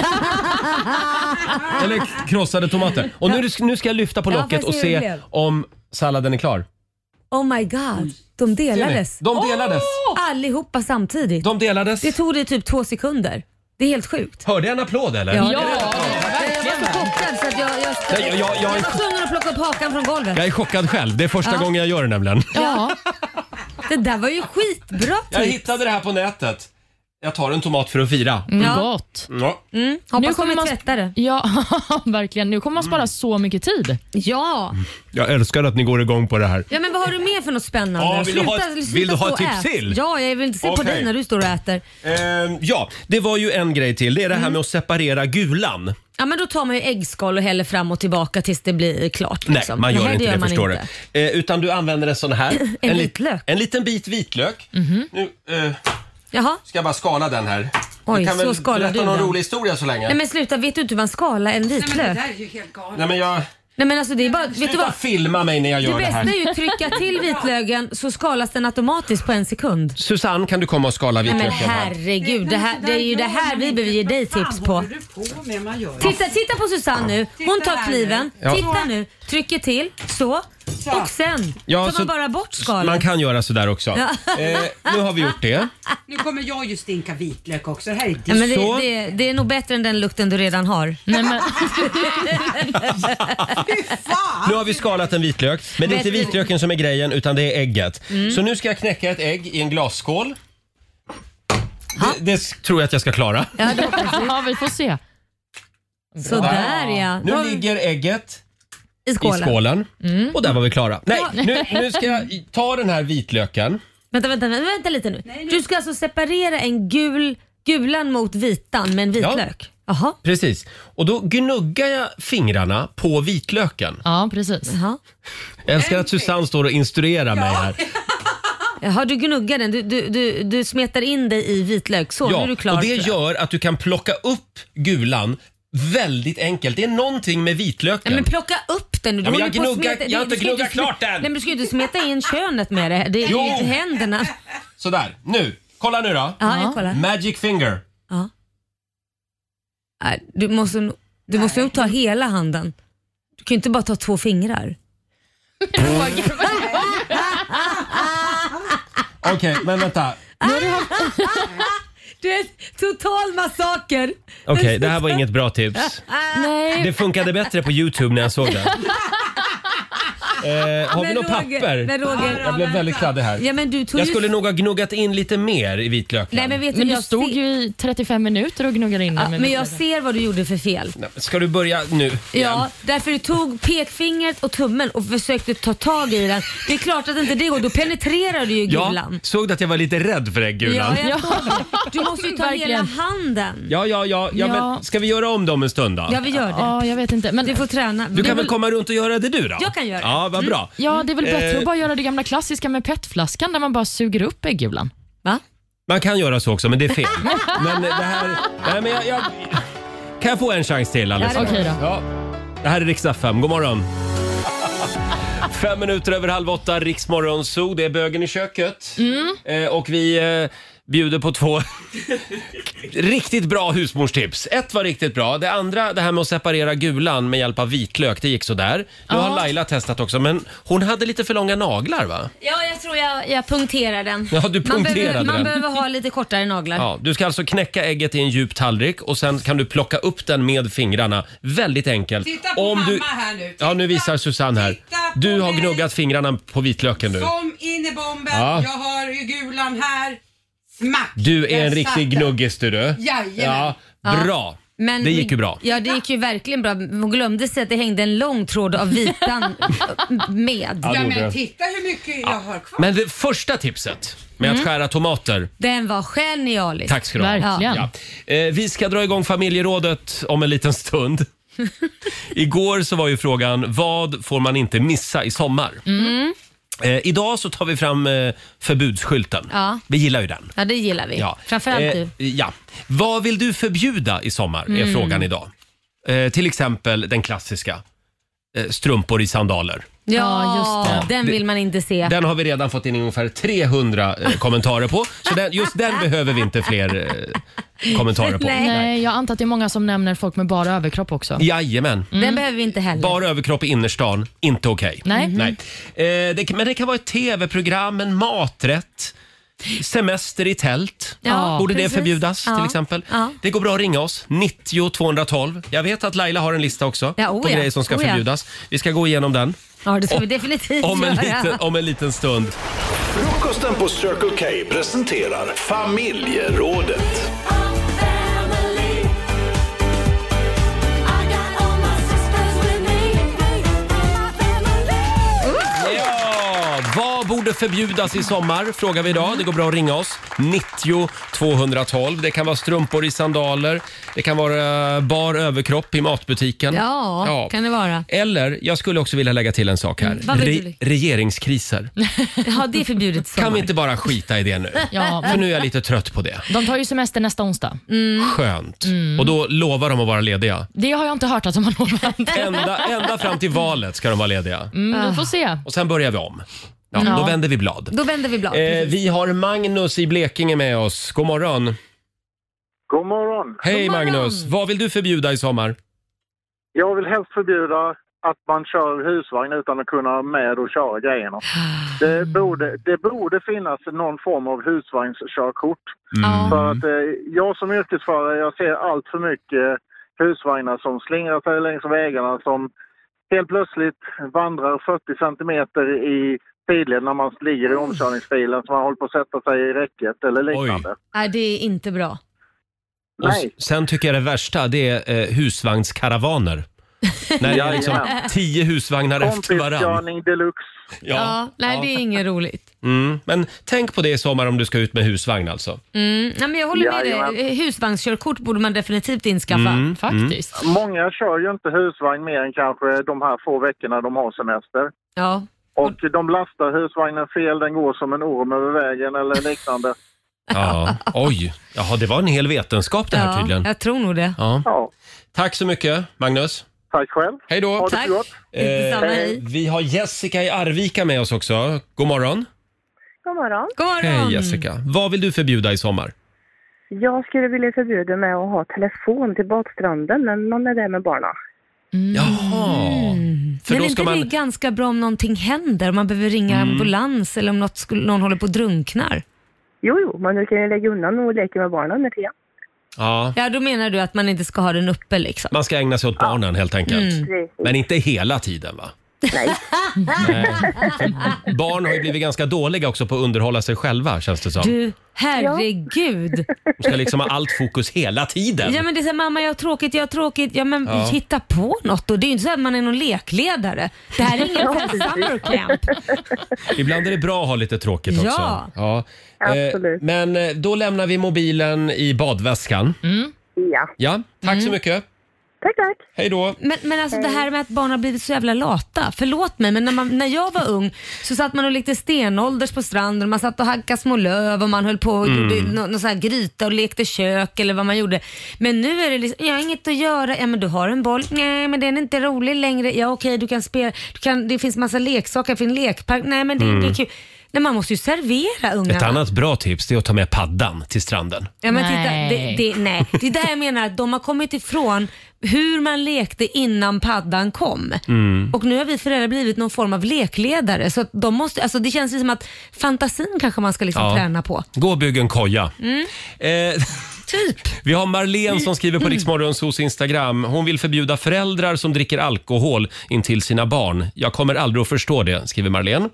A: Eller krossade tomater. Och nu, nu ska jag lyfta på
B: Ja,
A: locket
B: får
A: och
B: se hur det
A: se
B: blev.
A: om salladen är klar.
B: Oh my god, de
A: Ser ni?
B: delades.
A: De delades.
B: Allihopa samtidigt.
A: De delades.
B: Det tog dig typ två sekunder. Det är helt sjukt.
A: Hörde jag en applåd eller?
B: Ja.
E: Ja,
B: Jag var så chockad så att jag, jag,
A: Nej, jag- jag- jag-
B: var tvungen att plocka upp hakan från golvet.
A: Jag är chockad själv. Det är första
B: Ja.
A: gången jag gör det nämligen.
E: ja.
B: Det där var ju skitbra typ.
A: Jag
B: tips.
A: hittade det här på nätet. Jag tar en tomat för att fira.
E: Mm,
B: Ja.
E: gott.
A: Ja.
B: Mm, hoppas de
E: kommer
B: är
E: man-
B: tvättade.
E: Ja, verkligen. Nu kommer man
A: Mm.
E: spara så mycket tid.
B: Ja.
A: Jag älskar att ni går igång på det här.
B: ja, men vad har du mer för något spännande?
A: Ja, vill du ha ett- vill du ha
B: stå
A: ett
B: och
A: tips
B: ät.
A: till?
B: Ja, jag vill inte se på
A: Okej.
B: dig när du står och äter.
A: Ehm, ja, det var ju en grej till. Det är det
B: Mm.
A: här med att separera gulan.
B: Ja, men då tar man ju äggskal och häller fram och tillbaka tills det blir klart.
A: Nej,
B: liksom.
A: man gör inte det,
B: man
A: förstår
B: inte.
A: du. Eh, utan du använder en sån här.
B: En
A: li-
B: vitlök. Mhm.
A: En liten bit vitlök. Nu eh,
B: Jaha.
A: ska jag bara skala den här.
B: Oj,
A: du kan
B: så
A: väl
B: skalar
A: berätta
B: du
A: någon
B: den.
A: rolig historia så länge?
B: Nej men sluta, vet du inte hur man skalar en vitlök?
J: där är ju helt galet.
A: Nej, men jag...
B: Nej men alltså det är bara, vet du
A: Sluta
B: vad?
A: filma mig när jag
B: Det
A: gör det,
B: bästa
A: här.
B: är ju att trycka till vitlöken så skalas den automatiskt på en sekund.
A: Susanne, kan du komma och skala
B: Nej men
A: vitlöken här?
B: herregud, det, här, det är ju det här vi behöver ge dig tips på.
J: Vad håller du på med? Man gör ju-
B: Titta, titta på Susanne nu. Hon
J: Titta
B: tar
J: här
B: kniven,
A: Ja.
B: titta nu, trycker till, så. Och sen
A: Ja,
B: tar
A: så-
B: man bara bort skalet.
A: Man kan göra sådär också. Eh, nu har vi gjort det.
J: Nu kommer jag ju stinka vitlök också. Det här är
B: Ja,
J: ditt.
B: men det,
A: Så.
B: det, det är nog bättre än den lukten du redan har.
E: Nej, men,
A: Nu har vi skalat en vitlök. Men det är inte
B: Vet du-
A: vitlöken som är grejen utan det är ägget.
B: Mm.
A: Så nu ska jag knäcka ett ägg i en glasskål. Det, det s- tror jag att jag ska klara.
B: Ja, då,
E: ja, vi får se.
B: sådär ja.
A: Nu
B: Då-
A: ligger ägget
B: I
A: i
B: skålen. Mm.
A: skålen. Och där var vi klara. Nej, nu, nu ska jag i- ta den här vitlöken.
B: Vänta, vänta, vänta, vänta lite nu. Du ska alltså separera en gul, gulan mot vitan med en vitlök? Jaha.
A: Precis. Och då gnuggar jag fingrarna på vitlöken.
E: Ja, precis.
B: Jaha.
A: Jag älskar att Susanne står och instruerar mig här.
B: Jaha, du gnuggar den. Du, du, du, du smetar in dig i vitlök. Så, nu är du klar.
A: och det
B: tror jag.
A: gör att du kan plocka upp gulan väldigt enkelt. Det är någonting med vitlöken.
B: Nej, men plocka upp den nu. Du
A: Ja, men jag
B: håller på att
A: gnuggar-
B: smeta-
A: jag har
B: du-
A: inte
B: du ska ju
A: gnuggat
B: sme-
A: klart den.
B: Nej, men du ska ju inte smeta in könet med det. Det är
A: Jo.
B: jo. händerna.
A: Sådär, nu. Kolla nu då.
B: Ja, jag kollar.
A: Magic finger.
B: Nej, Du måste, nog- du måste nog ta hela handen. Du kan ju inte bara ta två fingrar.
A: Okej, men vänta.
B: Du är total massaker.
A: Okej, det här var inget bra tips.
E: Nej,
A: Det funkade bättre på Youtube när jag såg det. Eh, har vi
B: Men
A: något
B: Roger-
A: papper?
B: men Roger-
A: Jag blev väldigt kladdig här.
B: Ja, men du tog
A: Jag
B: ju...
A: skulle nog ha gnuggat in lite mer i vitlöken.
B: Nej, men vet
E: men
B: du,
E: du
B: jag
E: stod
B: ser-
E: ju i 35 minuter och gnuggade in
B: Ja,
E: den med
B: men jag
E: vitlöken.
B: ser vad du gjorde för fel.
A: Nej, men Ska du börja nu? igen?
B: Ja, därför du tog pekfingret och tummen och försökte ta tag i den. Det är klart att inte det går. Då penetrerar du ju gulan.
A: ja. Såg du att jag var lite rädd för äggulan?
B: Ja, jag såg det. Du måste ju ta hela
E: Verkligen.
B: handen.
A: Ja, ja, ja, ja,
E: Ja.
A: men ska vi göra om dem en stund då?
B: Ja, vi gör det.
E: Ja, jag vet inte. Men
B: Du får träna.
A: Du kan
B: Det
A: väl
B: är
A: komma runt och göra det du då?
B: Jag kan göra det.
A: Ja, vad bra.
E: Ja, det är väl bättre
A: Eh.
E: att bara göra det gamla klassiska med petflaskan där man bara suger upp äggulan.
B: Va?
A: Man kan göra så också, men det är fel. men det här... Nej, men jag, jag, kan jag få en chans till alldeles
B: Ja, det
A: strax?
E: Okej då.
A: Ja. Det här är riksdag 5. God morgon. Fem minuter över halv åtta, Riksmorgon Zoo. Det är bögen i köket. Eh, och vi eh, bjuder på två riktigt bra husmorstips. Ett var riktigt bra. Det andra, det här med att separera gulan med hjälp av vitlök, det gick sådär. Nu har Laila testat också, men hon hade lite för långa naglar va?
B: Ja, jag tror jag, jag punkterar den.
A: Ja, du
B: man,
A: punkterade
B: behöver,
A: den.
B: man behöver ha lite kortare naglar.
A: Ja, du ska alltså knäcka ägget i en djup tallrik och sen kan du plocka upp den med fingrarna. Väldigt enkelt.
J: Titta på
A: du...
J: mamma här nu.
A: Ja, nu
J: Titta.
A: visar Susanne här.
J: Titta på
A: Du har
J: mig.
A: gnuggat fingrarna på vitlöken nu.
J: Som in i bomben.
A: Ja.
J: Jag har ju gulan här. Max.
A: Du är
J: Där
A: en
J: satt
A: riktig
J: den.
A: gnuggis du. du.
J: Jajamän.
A: Ja, bra.
B: Men
A: det gick ju bra.
B: Ja, det gick ju verkligen bra. Hon glömde sig att det hängde en lång tråd av vitan med.
A: Ja, det Ja, men gjorde det.
J: titta hur mycket jag har kvar.
A: Men det första tipset med
B: Mm.
A: att skära tomater.
B: Den var genialisk.
A: Tack ska du ha. Ja. Eh, Vi ska dra igång familjerådet om en liten stund. Igår så var ju frågan vad får man inte missa i sommar?
B: Mm.
A: Eh, idag så tar vi fram eh, förbudsskylten.
B: Ja.
A: Vi gillar ju den.
B: ja, det gillar vi.
A: Ja.
B: Framförallt
A: Eh,
B: du.
A: Ja. Vad vill du förbjuda i sommar? är
B: Mm.
A: frågan idag. Eh, till exempel den klassiska. eh, Strumpor i sandaler.
B: Ja,
E: Ja,
A: just
B: just
A: det.
B: den
A: Det-
B: vill man inte se.
A: Den har vi redan fått in ungefär 300 eh, kommentarer på. Så den, just den behöver vi inte fler eh, kommentarer på.
E: Nej. jag antar att det är många som nämner folk med bara överkropp också.
A: Jajamän.
B: Den behöver vi inte heller.
A: Bara överkropp i innerstan, inte okej. Mm-hmm.
E: Nej.
A: Nej. Eh, det, kan- men det kan vara ett tv-program, en maträtt, semester i tält.
B: Ja,
A: Borde
B: precis.
A: det förbjudas
B: Ja.
A: till exempel?
B: Ja.
A: Det går bra att ringa oss, 90 212. Jag vet att Laila har en lista också
B: Ja, oh
A: på
B: ja.
A: grejer som ska
B: Oh ja.
A: förbjudas. Vi ska gå igenom den
B: Ja, det ska vi definitivt
A: om en
B: göra.
A: liten, om en liten stund.
C: Frukosten på Circle K presenterar familjerådet.
A: Ja, vad borde förbjudas i sommar? Frågar vi idag. Det går bra att ringa oss. 90 212. Det kan vara strumpor i sandaler. Det kan vara eh, bar överkropp i matbutiken.
B: Ja, kan det vara.
A: Eller, jag skulle också vilja lägga till en sak här.
B: Mm, vad vill du
A: Re- regeringskriser.
B: Ja, det är förbjudet i sommar.
A: Kan vi inte bara skita i det nu?
E: Ja.
A: För nu är jag lite trött på det.
E: De tar ju semester nästa onsdag.
B: Mm.
A: Skönt. Och då lovar de att vara lediga.
E: Det har jag inte hört att de har lovat.
A: Ända, ända fram till valet ska de vara lediga.
E: Mm, vi får se.
A: Och sen börjar vi om. Ja,
B: Mm.
E: Ja.
A: Då vänder vi blad.
B: Då vänder vi blad.
A: Eh, vi har Magnus i Blekinge med oss. God morgon.
K: God morgon.
A: Hej Magnus. Vad vill du förbjuda i sommar?
K: Jag vill helst förbjuda att man kör husvagn utan att kunna vara med och köra grejerna. Det borde, det borde finnas någon form av husvagnskörkort.
A: Ah.
K: För att eh, jag som yrkesförare, jag ser allt för mycket husvagnar som slingrar sig längs vägarna som helt plötsligt vandrar 40 centimeter i sidled när man ligger i omkörningsfilen så man håller på att sätta sig i räcket eller liknande.
B: Nej, Ah, det är inte bra.
A: Och s- sen tycker jag det värsta, det är eh, husvagnskaravaner. När det är liksom
B: Jajamän.
A: tio husvagnar efter varann.
K: Kompiskörning deluxe.
B: Ja,
A: Ja.
B: nej, det är inget roligt.
A: Mm. Men tänk på det i sommar om du ska ut med husvagn alltså.
B: Mm. Nej, men jag håller med dig.
K: Jajamän.
B: Husvagnskörkort borde man definitivt inskaffa.
A: Mm,
K: Många kör ju inte husvagn mer än kanske de här få veckorna de har semester.
B: Ja.
K: Och de lastar husvagnen fel, den går som en orm över vägen eller liknande.
A: Ja. Oj, Jaha, det var en hel vetenskap det här
B: ja,
A: tydligen.
B: Jag tror nog det.
A: Ja. Tack så mycket Magnus.
K: Tack själv.
A: Hej då.
K: Ha det så Tack. gott.
A: Eh,
K: Detsamma, hej.
A: vi har Jessica i Arvika med oss också. God morgon.
L: God morgon.
A: Hej Jessica. Vad vill du förbjuda i sommar?
L: Jag skulle vilja förbjuda mig att ha telefon till badstranden när man är där med barnen.
A: Jaha. För
B: Mm. Men
A: då
B: är
A: ska
B: inte det
A: man...
B: ganska bra om någonting händer? Om man behöver ringa
A: Mm.
B: ambulans eller om något skulle, någon håller på att drunknar?
L: Jo, jo, men du kan ju lägga undan och leka med barnen under tiden.
A: Ja.
B: Ja, då menar du att man inte ska ha den uppe liksom?
A: Man ska ägna sig åt barnen helt enkelt.
B: Mm. Precis.
A: Men inte hela tiden va? Nej. För Barn har ju blivit ganska dåliga också på att underhålla sig själva känns det som.
B: Du, herregud.
A: De ska liksom ha allt fokus hela tiden.
B: Ja men det är såhär, mamma jag har tråkigt, jag har tråkigt. Ja men
A: Ja.
B: hitta på något då. Det är ju inte så att man är någon lekledare. Det här är ingen summer camp.
A: Ibland är det bra att ha lite tråkigt också.
B: Ja.
A: ja. Eh,
L: Absolut.
A: Men eh, då lämnar vi mobilen i badväskan.
L: Ja.
A: Ja, tack så
B: Mm.
A: mycket.
L: Tack, tack.
A: Hej då.
B: Men, men alltså det här med att barn har blivit så jävla lata. Förlåt mig men när, man, när jag var ung så satt man och lekte stenålders på stranden. Man satt och hackade små löv och man höll på och
M: Mm.
B: gjorde nå- någon sån här gryta och lekte kök eller vad man gjorde. Men nu är det liksom, jag har inget att göra. Ja men du har en boll. Nej men den är inte rolig längre. Ja okej du kan spela, du kan, det finns massa leksaker, det finns lekpark. Nej men det,
A: Mm.
B: det är kul. Nej, man måste ju servera ungarna.
A: Ett annat bra tips det är att ta med paddan till stranden.
B: Ja, men nej.
A: Nej.
B: Titta, det, det, nej. det är där jag menar att de har kommit ifrån hur man lekte innan paddan kom.
A: Mm.
B: Och nu har vi föräldrar blivit någon form av lekledare. Så att de måste, alltså det känns ju som att fantasin kanske man ska liksom
A: Ja.
B: träna på.
A: Gå och bygg en koja.
B: Mm.
A: Eh,
B: Typ.
A: vi har Marlene som skriver
B: Mm.
A: på Riksmorgonsos Instagram. Hon vill förbjuda föräldrar som dricker alkohol
B: Mm.
A: in till sina barn. Jag kommer aldrig att förstå det, skriver Marlene.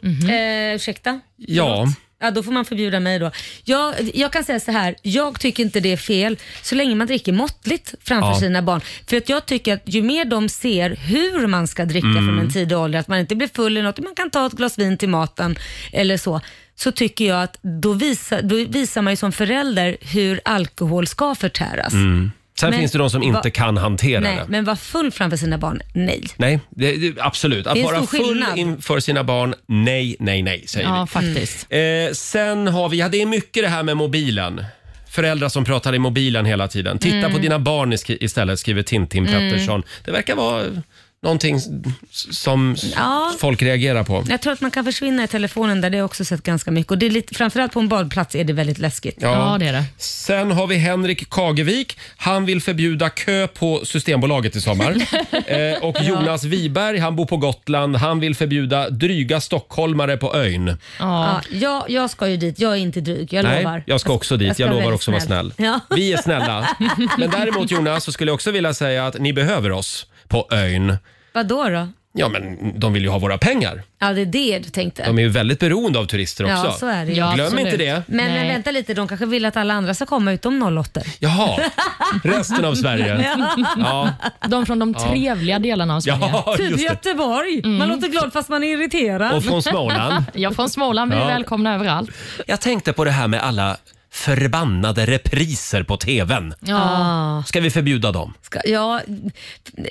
B: Eh, ursäkta?
A: Ja,
B: Ja, då får man förbjuda mig då. Jag, jag kan säga så här, jag tycker inte det är fel så länge man dricker måttligt framför
M: Ja.
B: sina barn. För att jag tycker att ju mer de ser hur man ska dricka
M: Mm.
B: från en tidig ålder, att man inte blir full i något, man kan ta ett glas vin till maten eller så, så tycker jag att då visar, då visar man ju som förälder hur alkohol ska förtäras.
A: Mm. Sen
B: Men
A: finns det de som
B: va-
A: inte kan hantera
B: Nej,
A: det.
B: men vara full framför sina barn, nej.
A: Nej, det, det, absolut. Att
B: Det är en
A: vara
B: stor
A: full
B: skillnad.
A: inför sina barn, nej, nej, nej, säger
E: Ja,
A: vi.
E: faktiskt.
A: Eh, sen har vi, ja det är mycket det här med mobilen. Föräldrar som pratar i mobilen hela tiden. Titta
E: Mm.
A: på dina barn isk- istället, skriver Tintin
B: Mm.
A: Pettersson. Det verkar vara någonting s- som s-
B: Ja.
A: folk reagerar på.
B: Jag tror att man kan försvinna i telefonen där, det har jag också sett ganska mycket. Och det är lite, framförallt på en badplats är det väldigt läskigt.
A: Sen har vi Henrik Kagevik. Han vill förbjuda kö på Systembolaget i sommar. eh, och Jonas Wiberg, han bor på Gotland. Han vill förbjuda dryga stockholmare på ön.
B: Ja. jag, jag ska ju dit, jag är inte dryg, jag
A: Nej,
B: lovar.
A: jag ska också dit.
B: ska
A: Jag, lovar
B: väldigt
A: också att vara snäll. Vi är snälla. Men däremot Jonas, så skulle jag också vilja säga att ni behöver oss på ön.
B: Vadå då?
A: Ja, men de vill ju ha våra pengar.
B: Ja, det är det du tänkte.
A: De är ju väldigt beroende av turister också.
B: Ja, så är Mm. det ju.
A: Glöm inte det.
B: Men, men vänta lite, de kanske vill att alla andra ska komma utom 08.
A: Jaha, resten av Sverige. Ja.
E: De från de
A: Ja.
E: trevliga delarna av Sverige.
A: Ja, just
B: Typ
A: det.
B: Göteborg. Man låter glad fast man är irriterad.
A: Och från Småland.
E: ja, från Småland. Vi är
A: Ja.
E: välkomna överallt.
A: Jag tänkte på det här med alla förbannade repriser på TVn.
B: Ja.
A: Ska vi förbjuda dem?
B: Ska, ja,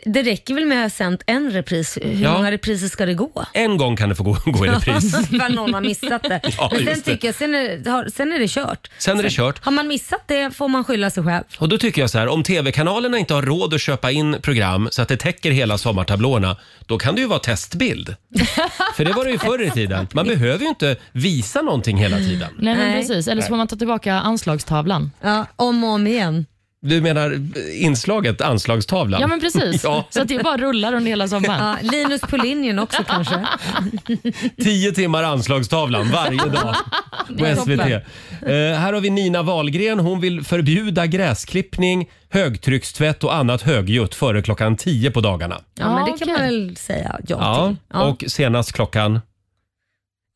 B: det räcker väl med att ha sänt en repris. Hur
A: Ja.
B: många repriser ska det gå?
A: En gång kan det få gå, gå i repris.
B: Ifall någon har missat det.
A: Ja,
B: Men sen,
A: just det.
B: tycker jag, sen, är, har- sen är det kört.
A: Sen är det kört.
B: Har man missat det får man skylla sig själv.
A: Och då tycker jag så här, om TV-kanalerna inte har råd att köpa in program så att det täcker hela sommartablåerna, då kan det ju vara testbild. För det var det ju förr i tiden. Man behöver ju inte visa någonting hela tiden.
E: Nej, men precis. Eller så
A: Nej.
E: får man ta tillbaka anslagstavlan.
B: Ja, om och om igen.
A: Du menar eh, inslaget Anslagstavlan?
E: Ja, men precis.
A: Ja.
E: Så att det bara rullar under hela
B: Ja,
E: sommaren.
B: Linus på linjen också kanske.
A: Tio timmar Anslagstavlan varje dag
B: Det är
A: på SVT.
B: toppen.
A: Eh, här har vi Nina Wahlgren. Hon vill förbjuda gräsklippning, högtryckstvätt och annat högljutt före klockan 10 på dagarna.
B: Ja, men det kan man väl säga ja,
A: Ja,
B: till. Ja.
A: och senast klockan...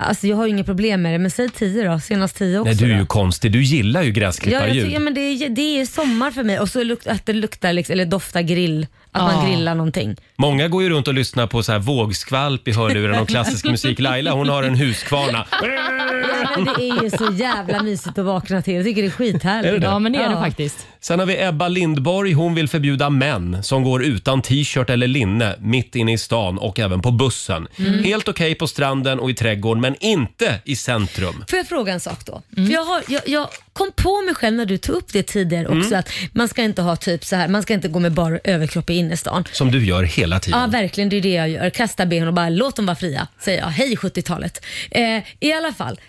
B: Alltså, jag har ju inga problem med det, men säg tio då. Senast tio också.
A: Nej, du är
B: då.
A: ju konstig. Du gillar ju
B: Ja, jag tycker,
A: gräsklipparljud.
B: ja, men det, är, det är sommar för mig och så luk, att det luktar liksom, eller doftar grill. Att man
A: Ja.
B: grillar någonting.
A: Många går ju runt och lyssnar på så här vågskvalp i hörluren och klassisk musik. Laila hon har en huskvarna.
B: Ja, men det är ju så jävla mysigt att vakna till. Jag tycker det är skithärligt.
A: Är det det?
B: Ja.
A: Sen har vi Ebba Lindborg. Hon vill förbjuda män som går utan t-shirt eller linne mitt inne i stan och även på bussen.
B: Mm.
A: Helt okej på stranden och i trädgården men inte i centrum.
B: Får jag fråga en sak då?
A: Mm.
B: För jag, har, jag, jag kom på mig själv när du tog upp det tidigare också
A: Mm.
B: att man ska inte ha typ så här, man ska inte gå med bar överkropp i innerstan.
A: Som du gör hela tiden.
B: Ja, verkligen. Det är det jag gör. Kasta ben och bara låt dem vara fria, säger jag. Hej 70-talet. Eh, I alla fall,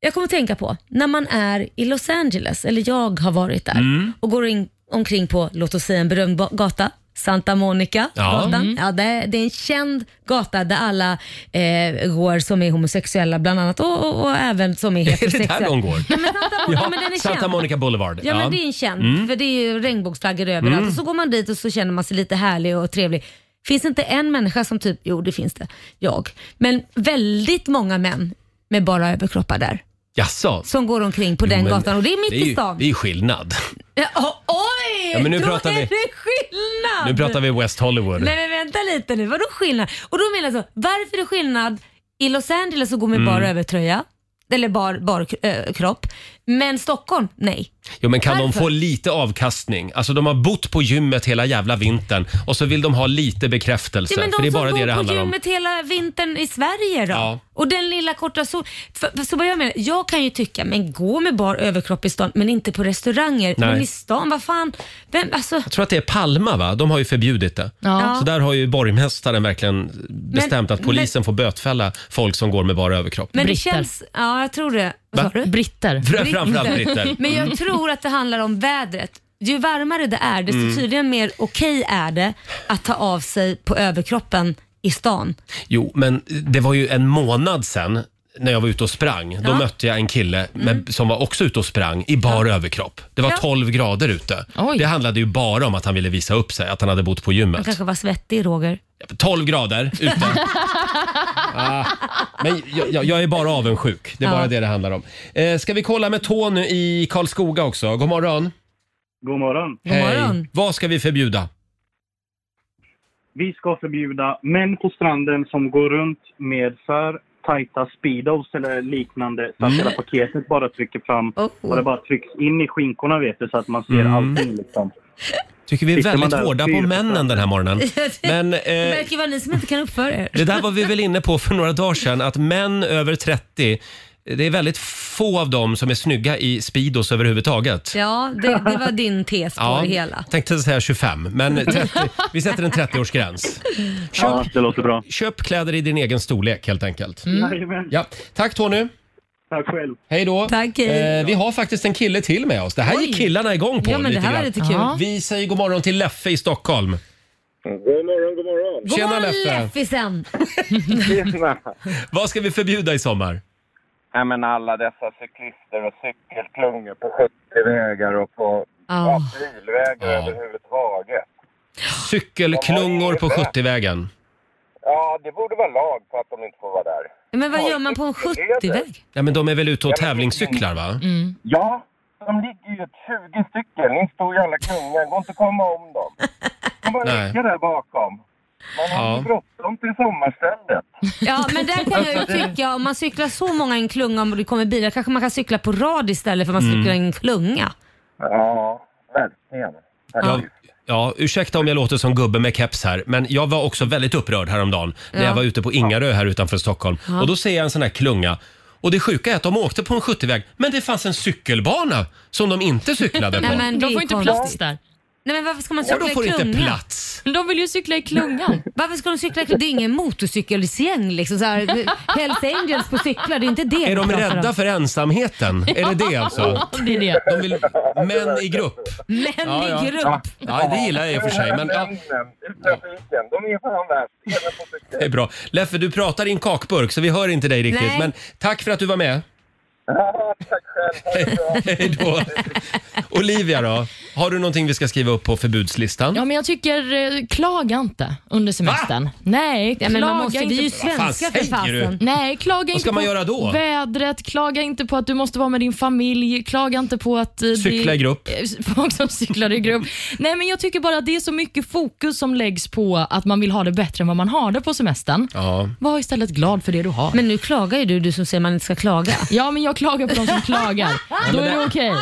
B: jag kommer att tänka på när man är i Los Angeles, eller jag har varit där
M: Mm.
B: och går in, omkring på, låt oss säga en berömd ba- gata, Santa Monica
M: Ja.
B: gatan.
M: Mm.
B: Ja, det, det är en känd gata där alla eh, går som är homosexuella bland annat och, och, och även som är
A: Är
B: heterosexuella.
A: det där de går?
B: Ja, men Santa, Monica- ja, men den är
A: Santa
B: känd.
A: Monica Boulevard.
B: Ja, men det är en känd,
A: Mm.
B: för det är ju regnbågsflaggor överallt.
A: Mm.
B: Och så går man dit och så känner man sig lite härlig och trevlig. Finns inte en människa som typ, jo det finns det, jag. Men väldigt många män med bara överkroppar där.
A: Jaså?
B: Som går omkring på den
A: Men
B: gatan och det är mitt
A: ju-
B: i stan.
A: Det är ju skillnad.
B: Ja, o- oj!
A: Ja, men nu
B: då
A: pratar
B: är
A: vi-
B: det skillnad!
A: Nu pratar vi West Hollywood.
B: Nej men vänta lite nu, vadå skillnad? Och då menar jag så, varför är det skillnad i Los Angeles att gå med
A: Mm.
B: bar övertröja? Eller bar, bar ö, kropp. Men Stockholm, nej.
A: Jo, men kan de
B: Varför?
A: få lite avkastning? Alltså de har bott på gymmet hela jävla vintern och så vill de ha lite bekräftelse.
B: Ja, men de
A: för det är
B: som
A: bara
B: bor
A: det det
B: på
A: handlar om.
B: gymmet hela vintern i Sverige då?
A: Ja.
B: Och den lilla korta sol... För, för, så vad jag menar, jag kan ju tycka, men gå med bar överkropp i stan, men inte på restauranger.
A: Nej.
B: Men i stan, vad fan? Vem, alltså,
A: Jag tror att det är Palma va? De har ju förbjudit det.
B: Ja.
A: Så där har ju borgmästaren verkligen bestämt att polisen får bötfälla folk som går med bara överkropp.
B: men det känns... Ja, jag tror det.
A: Va? Mm.
E: Britter.
A: Fr- framförallt britter.
B: Men jag tror att det handlar om vädret. Ju varmare det är, desto
A: Mm.
B: tydligen mer okej är det att ta av sig på överkroppen i stan.
A: Jo, men det var ju en månad sedan när jag var ute och sprang, då
B: Ja. Mm.
A: mötte jag en kille med, som var också ute och sprang i bar överkropp. Det var
B: Ja.
A: 12 grader ute. Det handlade ju bara om att han ville visa upp sig, att han hade bott på
B: Han
A: gymmet.
B: kanske var svettig, Roger.
A: 12 grader ute. ah, men jag, jag, jag är bara avundsjuk. Det är
B: Ja.
A: bara det det handlar om. Eh, ska vi kolla med Tony i Karlskoga också? God morgon.
M: God morgon.
A: Hej. Vad ska vi förbjuda?
M: Vi ska förbjuda män på stranden som går runt med för tajta speedos eller liknande så att
A: Mm.
M: hela paketet bara trycker fram och det bara trycks in i skinkorna vet du så att man ser
A: Mm.
M: allting liksom.
A: Tycker vi är
M: Sitter man
A: väldigt
M: där och
A: hårda på
M: styr på
A: männen den här morgonen. Men
B: Det
A: eh,
B: verkar ju vara ni som inte kan uppföra er.
A: det där var vi väl inne på för några dagar sedan, att män över 30, det är väldigt få av dem som är snygga i Speedos överhuvudtaget.
B: Ja, det, det var din tes på det hela.
A: tänkte säga 25, men 30, vi sätter en 30-årsgräns. Köp,
M: Ja, det låter bra.
A: Köp kläder i din egen storlek helt enkelt.
B: Mm.
M: Jajamän.
A: Ja. Tack Tony!
M: Tack själv.
A: Hej då!
B: Tack, hej.
A: eh, vi har faktiskt en kille till med oss. Det här gick killarna igång på
B: Ja, men det
A: lite
B: här var
A: grann.
B: lite kul. Ja.
A: Vi säger god morgon till Leffe i Stockholm.
N: God morgon, god morgon.
A: Tjena,
B: Gå
A: Leffe.
B: Leffisen!
N: Tjena.
A: Vad ska vi förbjuda i sommar?
N: Nej, men alla dessa cyklister och cykelklungor på 70-vägar och på
B: Ja.
N: bilvägar överhuvudtaget.
A: Cykelklungor på 70-vägen.
N: Ja, det borde vara lag på att de inte får vara där.
B: Men vad gör man på en 70-väg?
A: Ja, men de är Mm. väl ute och tävlingscyklar va?
N: Ja, de ligger ju ett 20 stycken. Ni står i alla klungor. går inte att komma om dem. De bara
A: Nej.
N: ligger där bakom. Man har
A: Ja.
N: ja. bråttom till sommarstället.
B: Ja, men där kan jag ju tycka, om man cyklar så många i en klunga om det kommer bilar, kanske man kan cykla på rad istället för man
A: Mm.
B: cyklar i en klunga.
N: Ja, verkligen.
A: Ja, ja, ursäkta om jag låter som gubbe med keps här, men jag var också väldigt upprörd häromdagen när
B: Ja.
A: jag var ute på Ingarö här utanför Stockholm.
B: Ja.
A: Och då ser jag en sån här klunga. Och det sjuka är att de åkte på en 70-väg, men det fanns en cykelbana som de inte cyklade på.
B: Nej, men det
E: De får
B: är
E: inte
B: konstigt.
E: plats där.
B: Nej men varför ska man
A: Ja,
B: cykla
A: de får
B: i
A: inte
B: klunga?
A: plats.
B: De vill ju cykla i klungan. Varför ska de cykla i klungan? Det är ingen motorcykelsgäng liksom. Så här, Hells Angels på cyklar, det är inte det
A: Är
B: vi
A: de
B: pratar om.
A: rädda för ensamheten? Är det det alltså?
E: Ja, det är det.
A: De vill, män i grupp.
B: Män
A: Ja, ja.
B: i grupp.
A: Ja. Ja, det gillar jag i och för sig, men- ja.
N: Männen i trafiken, de är fan värst. Även på cykel.
A: Det är bra. Leffe, du pratar i en kakburk så vi hör inte dig riktigt.
N: Nej.
A: Men tack för att du var med.
N: Ja, tack själv. Ha det bra.
A: Hej då. Olivia då? Har du någonting vi ska skriva upp på förbudslistan?
E: Ja, men jag tycker, eh, klaga inte under semestern. Nej,
B: Ja,
E: klaga
B: men man måste-
E: inte.
B: vi är ju
E: på-
B: svenskar Vad fan för säger fasen. du?
E: Nej, klaga
A: Vad
E: inte
A: ska
E: på
A: man göra då?
E: vädret, klaga inte på att du måste vara med din familj, klaga inte på att... eh, det-
A: Cykla i grupp.
E: Eh, Folk som cyklar i grupp. Nej, men jag tycker bara att det är så mycket fokus som läggs på att man vill ha det bättre än vad man har det på semestern.
A: Ja.
E: Var istället glad för det du har.
B: Men nu klagar ju du, du som säger man inte ska klaga.
E: Ja, men jag klagar på de som klagar.
A: men
E: Då är
A: det-
E: det okej.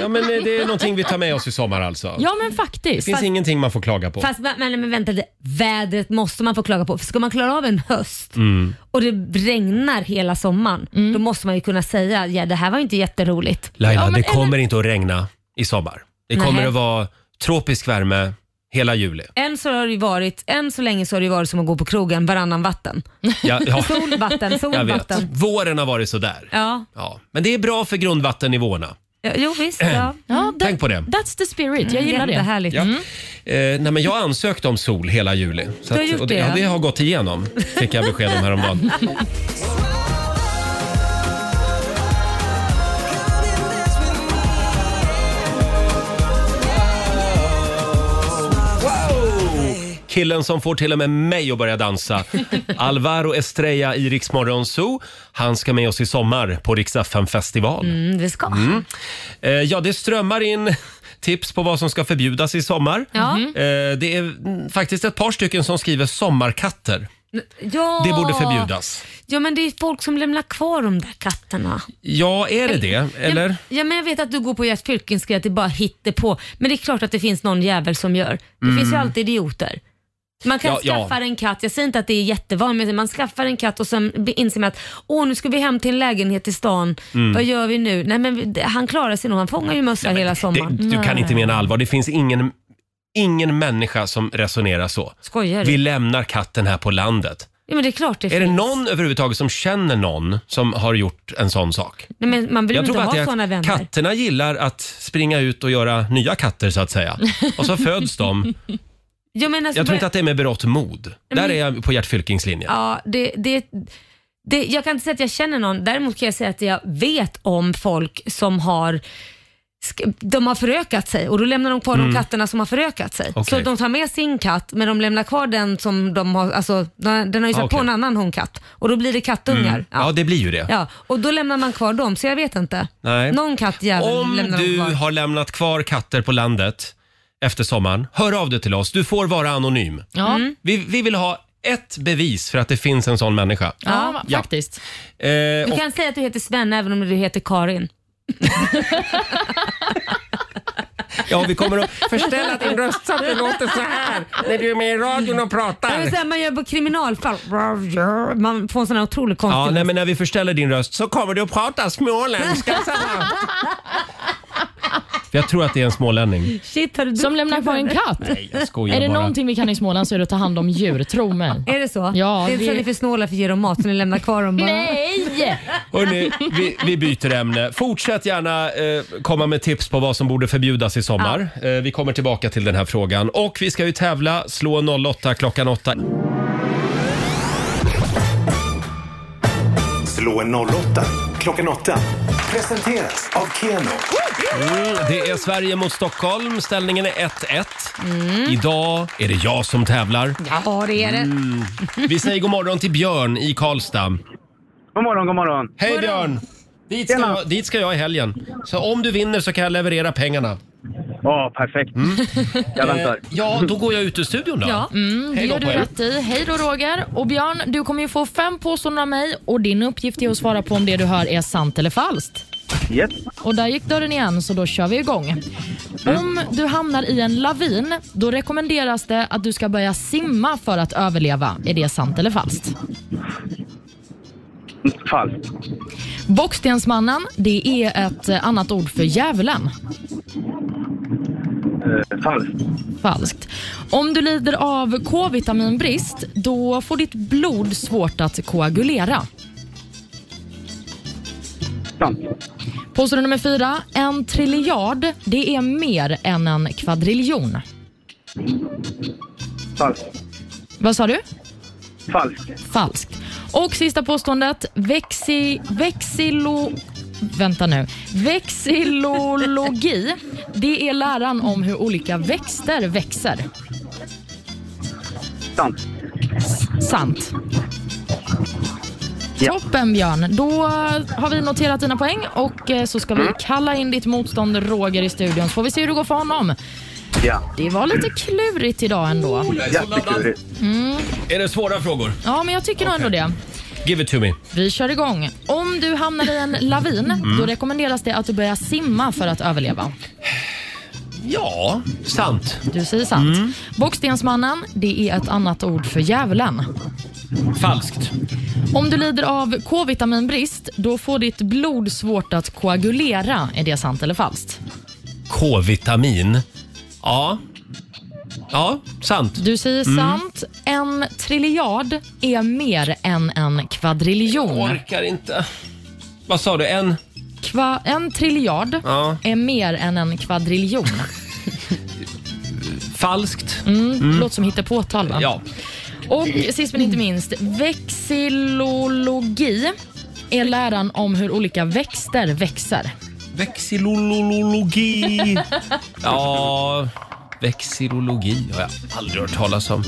A: Ja, men eh, det är någonting vi tar med oss i sommar alltså.
E: Ja, men
A: det
E: faktiskt.
A: finns
E: Fast-
A: ingenting man får klaga på.
B: Fast men, men, men vänta lite, vädret måste man få klaga på. För ska man klara av en höst
A: Mm.
B: och det regnar hela sommaren, då måste man ju kunna säga ja det här var inte jätteroligt.
A: Laila,
B: ja,
A: det kommer inte att regna i sommar. Det kommer
B: Nähä.
A: att vara tropisk värme hela juli.
B: Än så, har det ju varit, än så länge så har det ju varit som att gå på krogen varannan vatten.
A: Ja, ja.
B: Sol, vatten, sol,
A: Jag vet.
B: vatten.
A: Våren har varit sådär.
B: Ja.
A: Ja. Men det är bra för grundvattennivåerna.
B: Ja, Jo visst, ja.
E: ja
A: Mm. Tänk på det.
E: That's the spirit. Jag gillar det.
B: Jättehärligt.
A: Ja. Eh, nej, men jag ansökte om sol hela juli.
B: Du har gjort
A: och det,
B: det,
A: ja,
B: ja.
A: det har gått igenom, fick jag besked om häromdagen. Killen som får till och med mig att börja dansa. Alvaro Estrella i Rix Morgon Zoo. Han ska med oss i sommar på Rix FM festival.
B: Mm, det ska.
A: Mm. Eh, ja, det strömmar in tips på vad som ska förbjudas i sommar.
B: Ja.
A: Eh, det är mm, faktiskt ett par stycken som skriver sommarkatter.
B: Ja.
A: Det borde förbjudas.
B: Ja men det är folk som lämnar kvar de där katterna.
A: Ja, är det det? Eller?
B: Ja, men jag vet att du går på Gert Fylkings grej att det bara hittar på. Men det är klart att det finns någon jävel som gör. Det
A: Mm.
B: finns ju alltid idioter. Man kan
A: Ja, ja.
B: skaffa en katt, jag säger inte att det är jättevanligt, men man skaffar en katt och sen be- inser man att åh nu ska vi hem till en lägenhet i stan,
A: Mm.
B: vad gör vi nu? Nej men vi- det- han klarar sig nog, han fångar ju mössa hela sommaren.
A: Det, du kan
B: Nej.
A: inte mena allvar. Det finns ingen, ingen människa som resonerar så.
B: Skojar du?
A: Vi lämnar katten här på landet.
B: Ja men det är klart det
A: är det
B: finns.
A: någon överhuvudtaget som känner någon som har gjort en sån sak?
B: Nej, men man vill ju
A: Jag
B: inte
A: tror
B: ha
A: att
B: sådana vänner.
A: katterna gillar att springa ut och göra nya katter så att säga. Och så föds de.
B: Jag, menar, alltså,
A: Jag tror inte att det är med berått mod.
B: men-
A: Där är jag på Gert Fylkings linje.
B: Ja, det, det, det, jag kan inte säga att jag känner någon, däremot kan jag säga att jag vet om folk som har sk- de har förökat sig och då lämnar de kvar
O: Mm.
B: de katterna som har förökat sig.
O: Okej.
B: Så de tar med sin katt men de lämnar kvar den som de har, alltså den, den har ju satt
A: Ah, okej.
B: på en annan honkatt och då blir det kattungar.
A: Mm. Ja, det blir ju det.
B: Ja, och då lämnar man kvar dem, så jag vet inte.
A: Nej.
B: Någon kattjävel
A: Om
B: lämnar de
A: du
B: kvar.
A: har lämnat kvar katter på landet efter sommaren, hör av dig till oss. Du får vara anonym.
E: Ja. Mm.
A: Vi, vi vill ha ett bevis för att det finns en sån människa.
B: Ja,
E: faktiskt.
A: Eh,
B: Du
A: och,
B: kan säga att du heter Sven även om du heter Karin.
A: ja, vi kommer att
O: Förställa din röst så att det låter så här när du är med i radion och
B: Det är
O: pratar.
B: väl så här man gör på kriminalfall. Man får en sån här otroligt konstig...
A: Ja, nej, men när vi förställer din röst så kommer du att prata småländska. För jag tror att det är en smålänning.
E: Som lämnar kvar en katt?
A: Nej, jag skojar
E: Är det
A: bara.
E: någonting vi kan i Småland så är det att ta hand om djur, tro mig.
B: Är det så?
E: Ja,
B: det är inte så att ni är för snåla för att ge dem mat så ni lämnar kvar dem bara.
E: Nej!
A: Hörrni, vi, vi byter ämne. Fortsätt gärna eh, komma med tips på vad som borde förbjudas i sommar. Eh, vi kommer tillbaka till den här frågan. Och vi ska ju tävla. Slå 08 klockan 8.
C: Slå en 08 klockan 8. Presenteras av Keno.
A: Mm, det är Sverige mot Stockholm. Ställningen är 1-1.
E: Mm.
A: Idag är det jag som tävlar.
B: Ja, det är det.
A: Mm. Vi säger god morgon till Björn i Karlstad. God morgon, god morgon. Hej
O: God morgon.
A: Björn! Dit ska, jag, dit ska jag i helgen. Så om du vinner så kan jag leverera pengarna. Ja, perfekt. Mm. Jag
O: väntar.
A: Ja, då går jag ut ur studion då.
E: Ja, mm, det
A: Hej då
E: gör du
A: på er.
E: rätt i. Hej då Roger. Och Björn, du kommer ju få fem påståenden av mig och din uppgift är att svara på om det du hör är sant eller falskt.
O: Yes.
E: Och där gick dörren igen, så då kör vi igång.
O: Mm.
E: Om du hamnar i en lavin, då rekommenderas det att du ska börja simma för att överleva. Är det sant eller falskt?
O: Falskt.
E: Bockstensmannen, det är ett eh, annat ord för djävulen.
O: Eh, falskt.
E: Falskt. Om du lider av K-vitaminbrist, då får ditt blod svårt att koagulera.
O: Sant.
E: Påstående nummer fyra. En triljard, det är mer än en kvadriljon.
O: Falskt.
E: Vad sa du?
O: Falskt.
E: Falskt. Och sista påståendet. Vexi, vexillo... Vänta nu. Vexillologi, det är läran om hur olika växter växer.
O: Sant.
E: Sant. Toppen Björn. Då har vi noterat dina poäng och eh, så ska vi kalla in ditt motstånd Roger i studion så får vi se hur det går för honom.
O: Ja.
E: Det var lite klurigt idag ändå.
O: Jätteklurigt.
E: Mm.
A: Är det svåra frågor?
E: Ja, men jag tycker nog ändå det.
A: Give it to me.
E: Vi kör igång. Om du hamnar i en lavin,
A: Mm.
E: då rekommenderas det att du börjar simma för att överleva.
A: Ja, sant.
E: Du säger sant. Bockstensmannen, det är ett annat ord för djävulen.
A: Falskt.
E: Om du lider av K-vitaminbrist, då får ditt blod svårt att koagulera. Är det sant eller falskt?
A: K-vitamin. Ja. Ja, sant.
E: Du säger
A: Mm.
E: sant. En triljard är mer än en kvadriljon.
A: Orkar inte. Vad sa du? En?
E: Kva, en triljard
A: Ja.
E: är mer än en kvadriljon.
A: Falskt.
E: Mm, Låter som hittepåtal, va?
A: Ja.
E: Och sist men inte minst, vexillologi är läran om hur olika växter växer.
A: Vexillologi. Ja, vexillologi har jag aldrig hört talas om.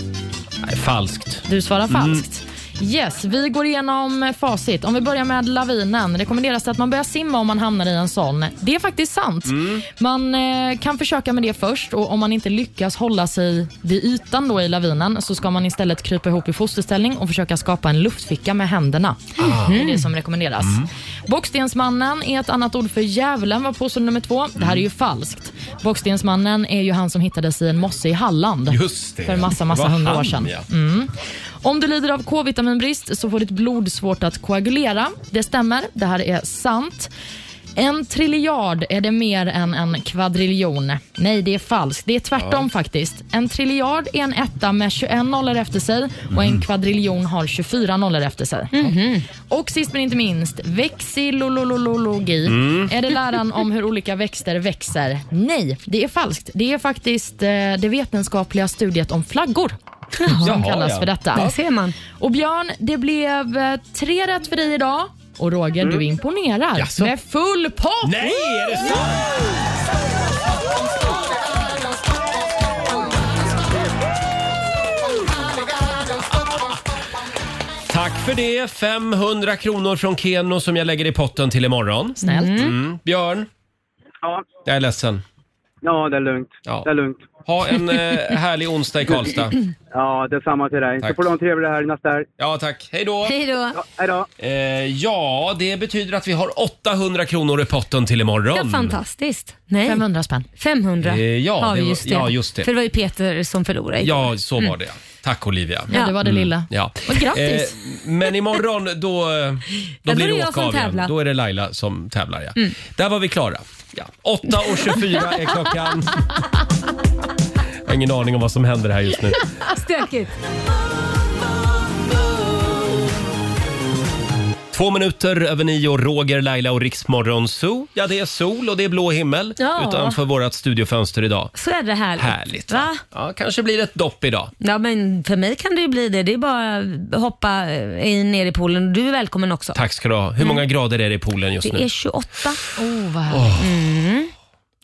A: Nej, falskt.
E: Du svarar
A: Mm.
E: falskt. Yes, vi går igenom facit. Om vi börjar med lavinen. Rekommenderas det att man börjar simma om man hamnar i en sån? Det är faktiskt sant.
O: Mm.
E: Man eh, kan försöka med det först och om man inte lyckas hålla sig vid ytan då i lavinen så ska man istället krypa ihop i fosterställning och försöka skapa en luftficka med händerna.
O: Ah. Mm.
E: Det är det som rekommenderas. Bockstensmannen är ett annat ord för djävulen var påstående nummer två. Det här är ju
O: Mm.
E: falskt. Bockstensmannen är ju han som hittades i en mosse i Halland
O: Just det.
E: för massa, massa
O: Det var
E: hundra år
O: han,
E: sedan.
O: ja.
E: Mm. Om du lider av K-vitaminbrist så får ditt blod svårt att koagulera. Det stämmer, det här är sant. En triljard är det mer än en kvadriljon. Nej, det är falskt. Det är tvärtom
O: Ja.
E: faktiskt. En triljard är en etta med 21 nollor efter sig och en
O: Mm.
E: kvadriljon har 24 nollor efter sig. Och sist men inte minst, vexillologi.
O: Mm.
E: Är det läran om hur olika växter växer? Nej, det är falskt. Det är faktiskt eh, det vetenskapliga studiet om flaggor. som
B: Jaha,
E: kallas
B: ja.
E: för detta.
B: Där ser man.
E: Och Björn, det blev eh, tre rätt för dig idag. Och Roger, du imponerar
A: Mm. Jaså?
E: med full pott!
A: Nej, är det sant? Tack för det. 500 kronor från Keno som jag lägger i potten till imorgon.
E: Snällt.
A: Mm. Björn? Ja? Jag är ledsen.
P: Ja, det är lugnt. Det är lugnt.
A: Ha en eh, härlig onsdag i Karlstad.
P: Ja, detsamma till dig.
A: Tack.
P: Så får du ha en trevlig helg nästa helg.
A: Ja, tack. Hej då!
B: Hej då.
P: Hej då!
A: Eh, ja, det betyder att vi har 800 kronor i potten till imorgon.
B: Ja, fantastiskt. Nej.
E: 500 spänn.
B: 500
A: Eh, ja,
B: har
A: det
B: vi
A: var-
B: just det.
A: ja, just det.
B: För det var ju Peter som förlorade igår.
A: Ja, så var det. ja. Tack Olivia.
E: Mm. Ja, det var det lilla.
A: Ja. Eh,
E: Och grattis.
A: men imorgon då, då
E: då
A: blir
E: är
A: det
E: jag som
A: åka av igen.
E: tävlar.
A: Då är det Laila som tävlar. Ja.
E: Mm.
A: Där var vi klara. Ja. 8.24 är klockan. Jag har ingen aning om vad som händer här just nu.
B: Ah, Stökigt.
A: Två minuter över nio, Roger, Laila och Riksmorgon Zoo. Ja, det är sol och det är blå himmel
B: Ja.
A: utanför vårt studiofönster idag.
B: Så är det härligt.
A: Härligt.
B: Va?
A: Ja, kanske blir det ett dopp idag.
B: Ja, men för mig kan det ju bli det. Det är bara att hoppa eh, in, ner i poolen. Du är välkommen också.
A: Tack ska du ha. Hur många grader är det i poolen just
B: Mm. Det
A: nu?
B: är 28.
E: Oh, vad
A: Åh.
B: mm.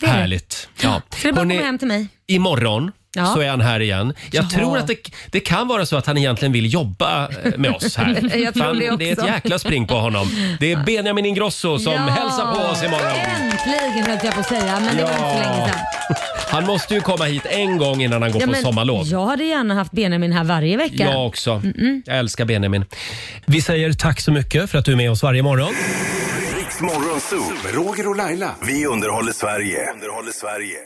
B: det är det.
A: Härligt. Ja.
B: Ska du bara
A: Hörrni,
B: komma hem till mig?
A: Imorgon
B: Ja.
A: så är han här igen. Jag
B: Jaha.
A: tror att det, det kan vara så att han egentligen vill jobba eh, med oss här.
B: Jag tror
A: För han-
B: det också.
A: det är ett jäkla spring på honom. Det är Benjamin Ingrosso som
B: Ja.
A: hälsar på oss imorgon.
B: Äntligen höll jag på att säga, men det var inte så länge sedan.
A: Han måste ju komma hit en gång innan han går på
B: men
A: sommarlov.
B: Jag hade gärna haft Benjamin här varje vecka.
A: Jag också. Jag älskar Benjamin. Vi säger tack så mycket för att du är med oss varje morgon.
C: Riks Morgonzoo med Roger och Laila. Vi underhåller Sverige. Underhåller Sverige.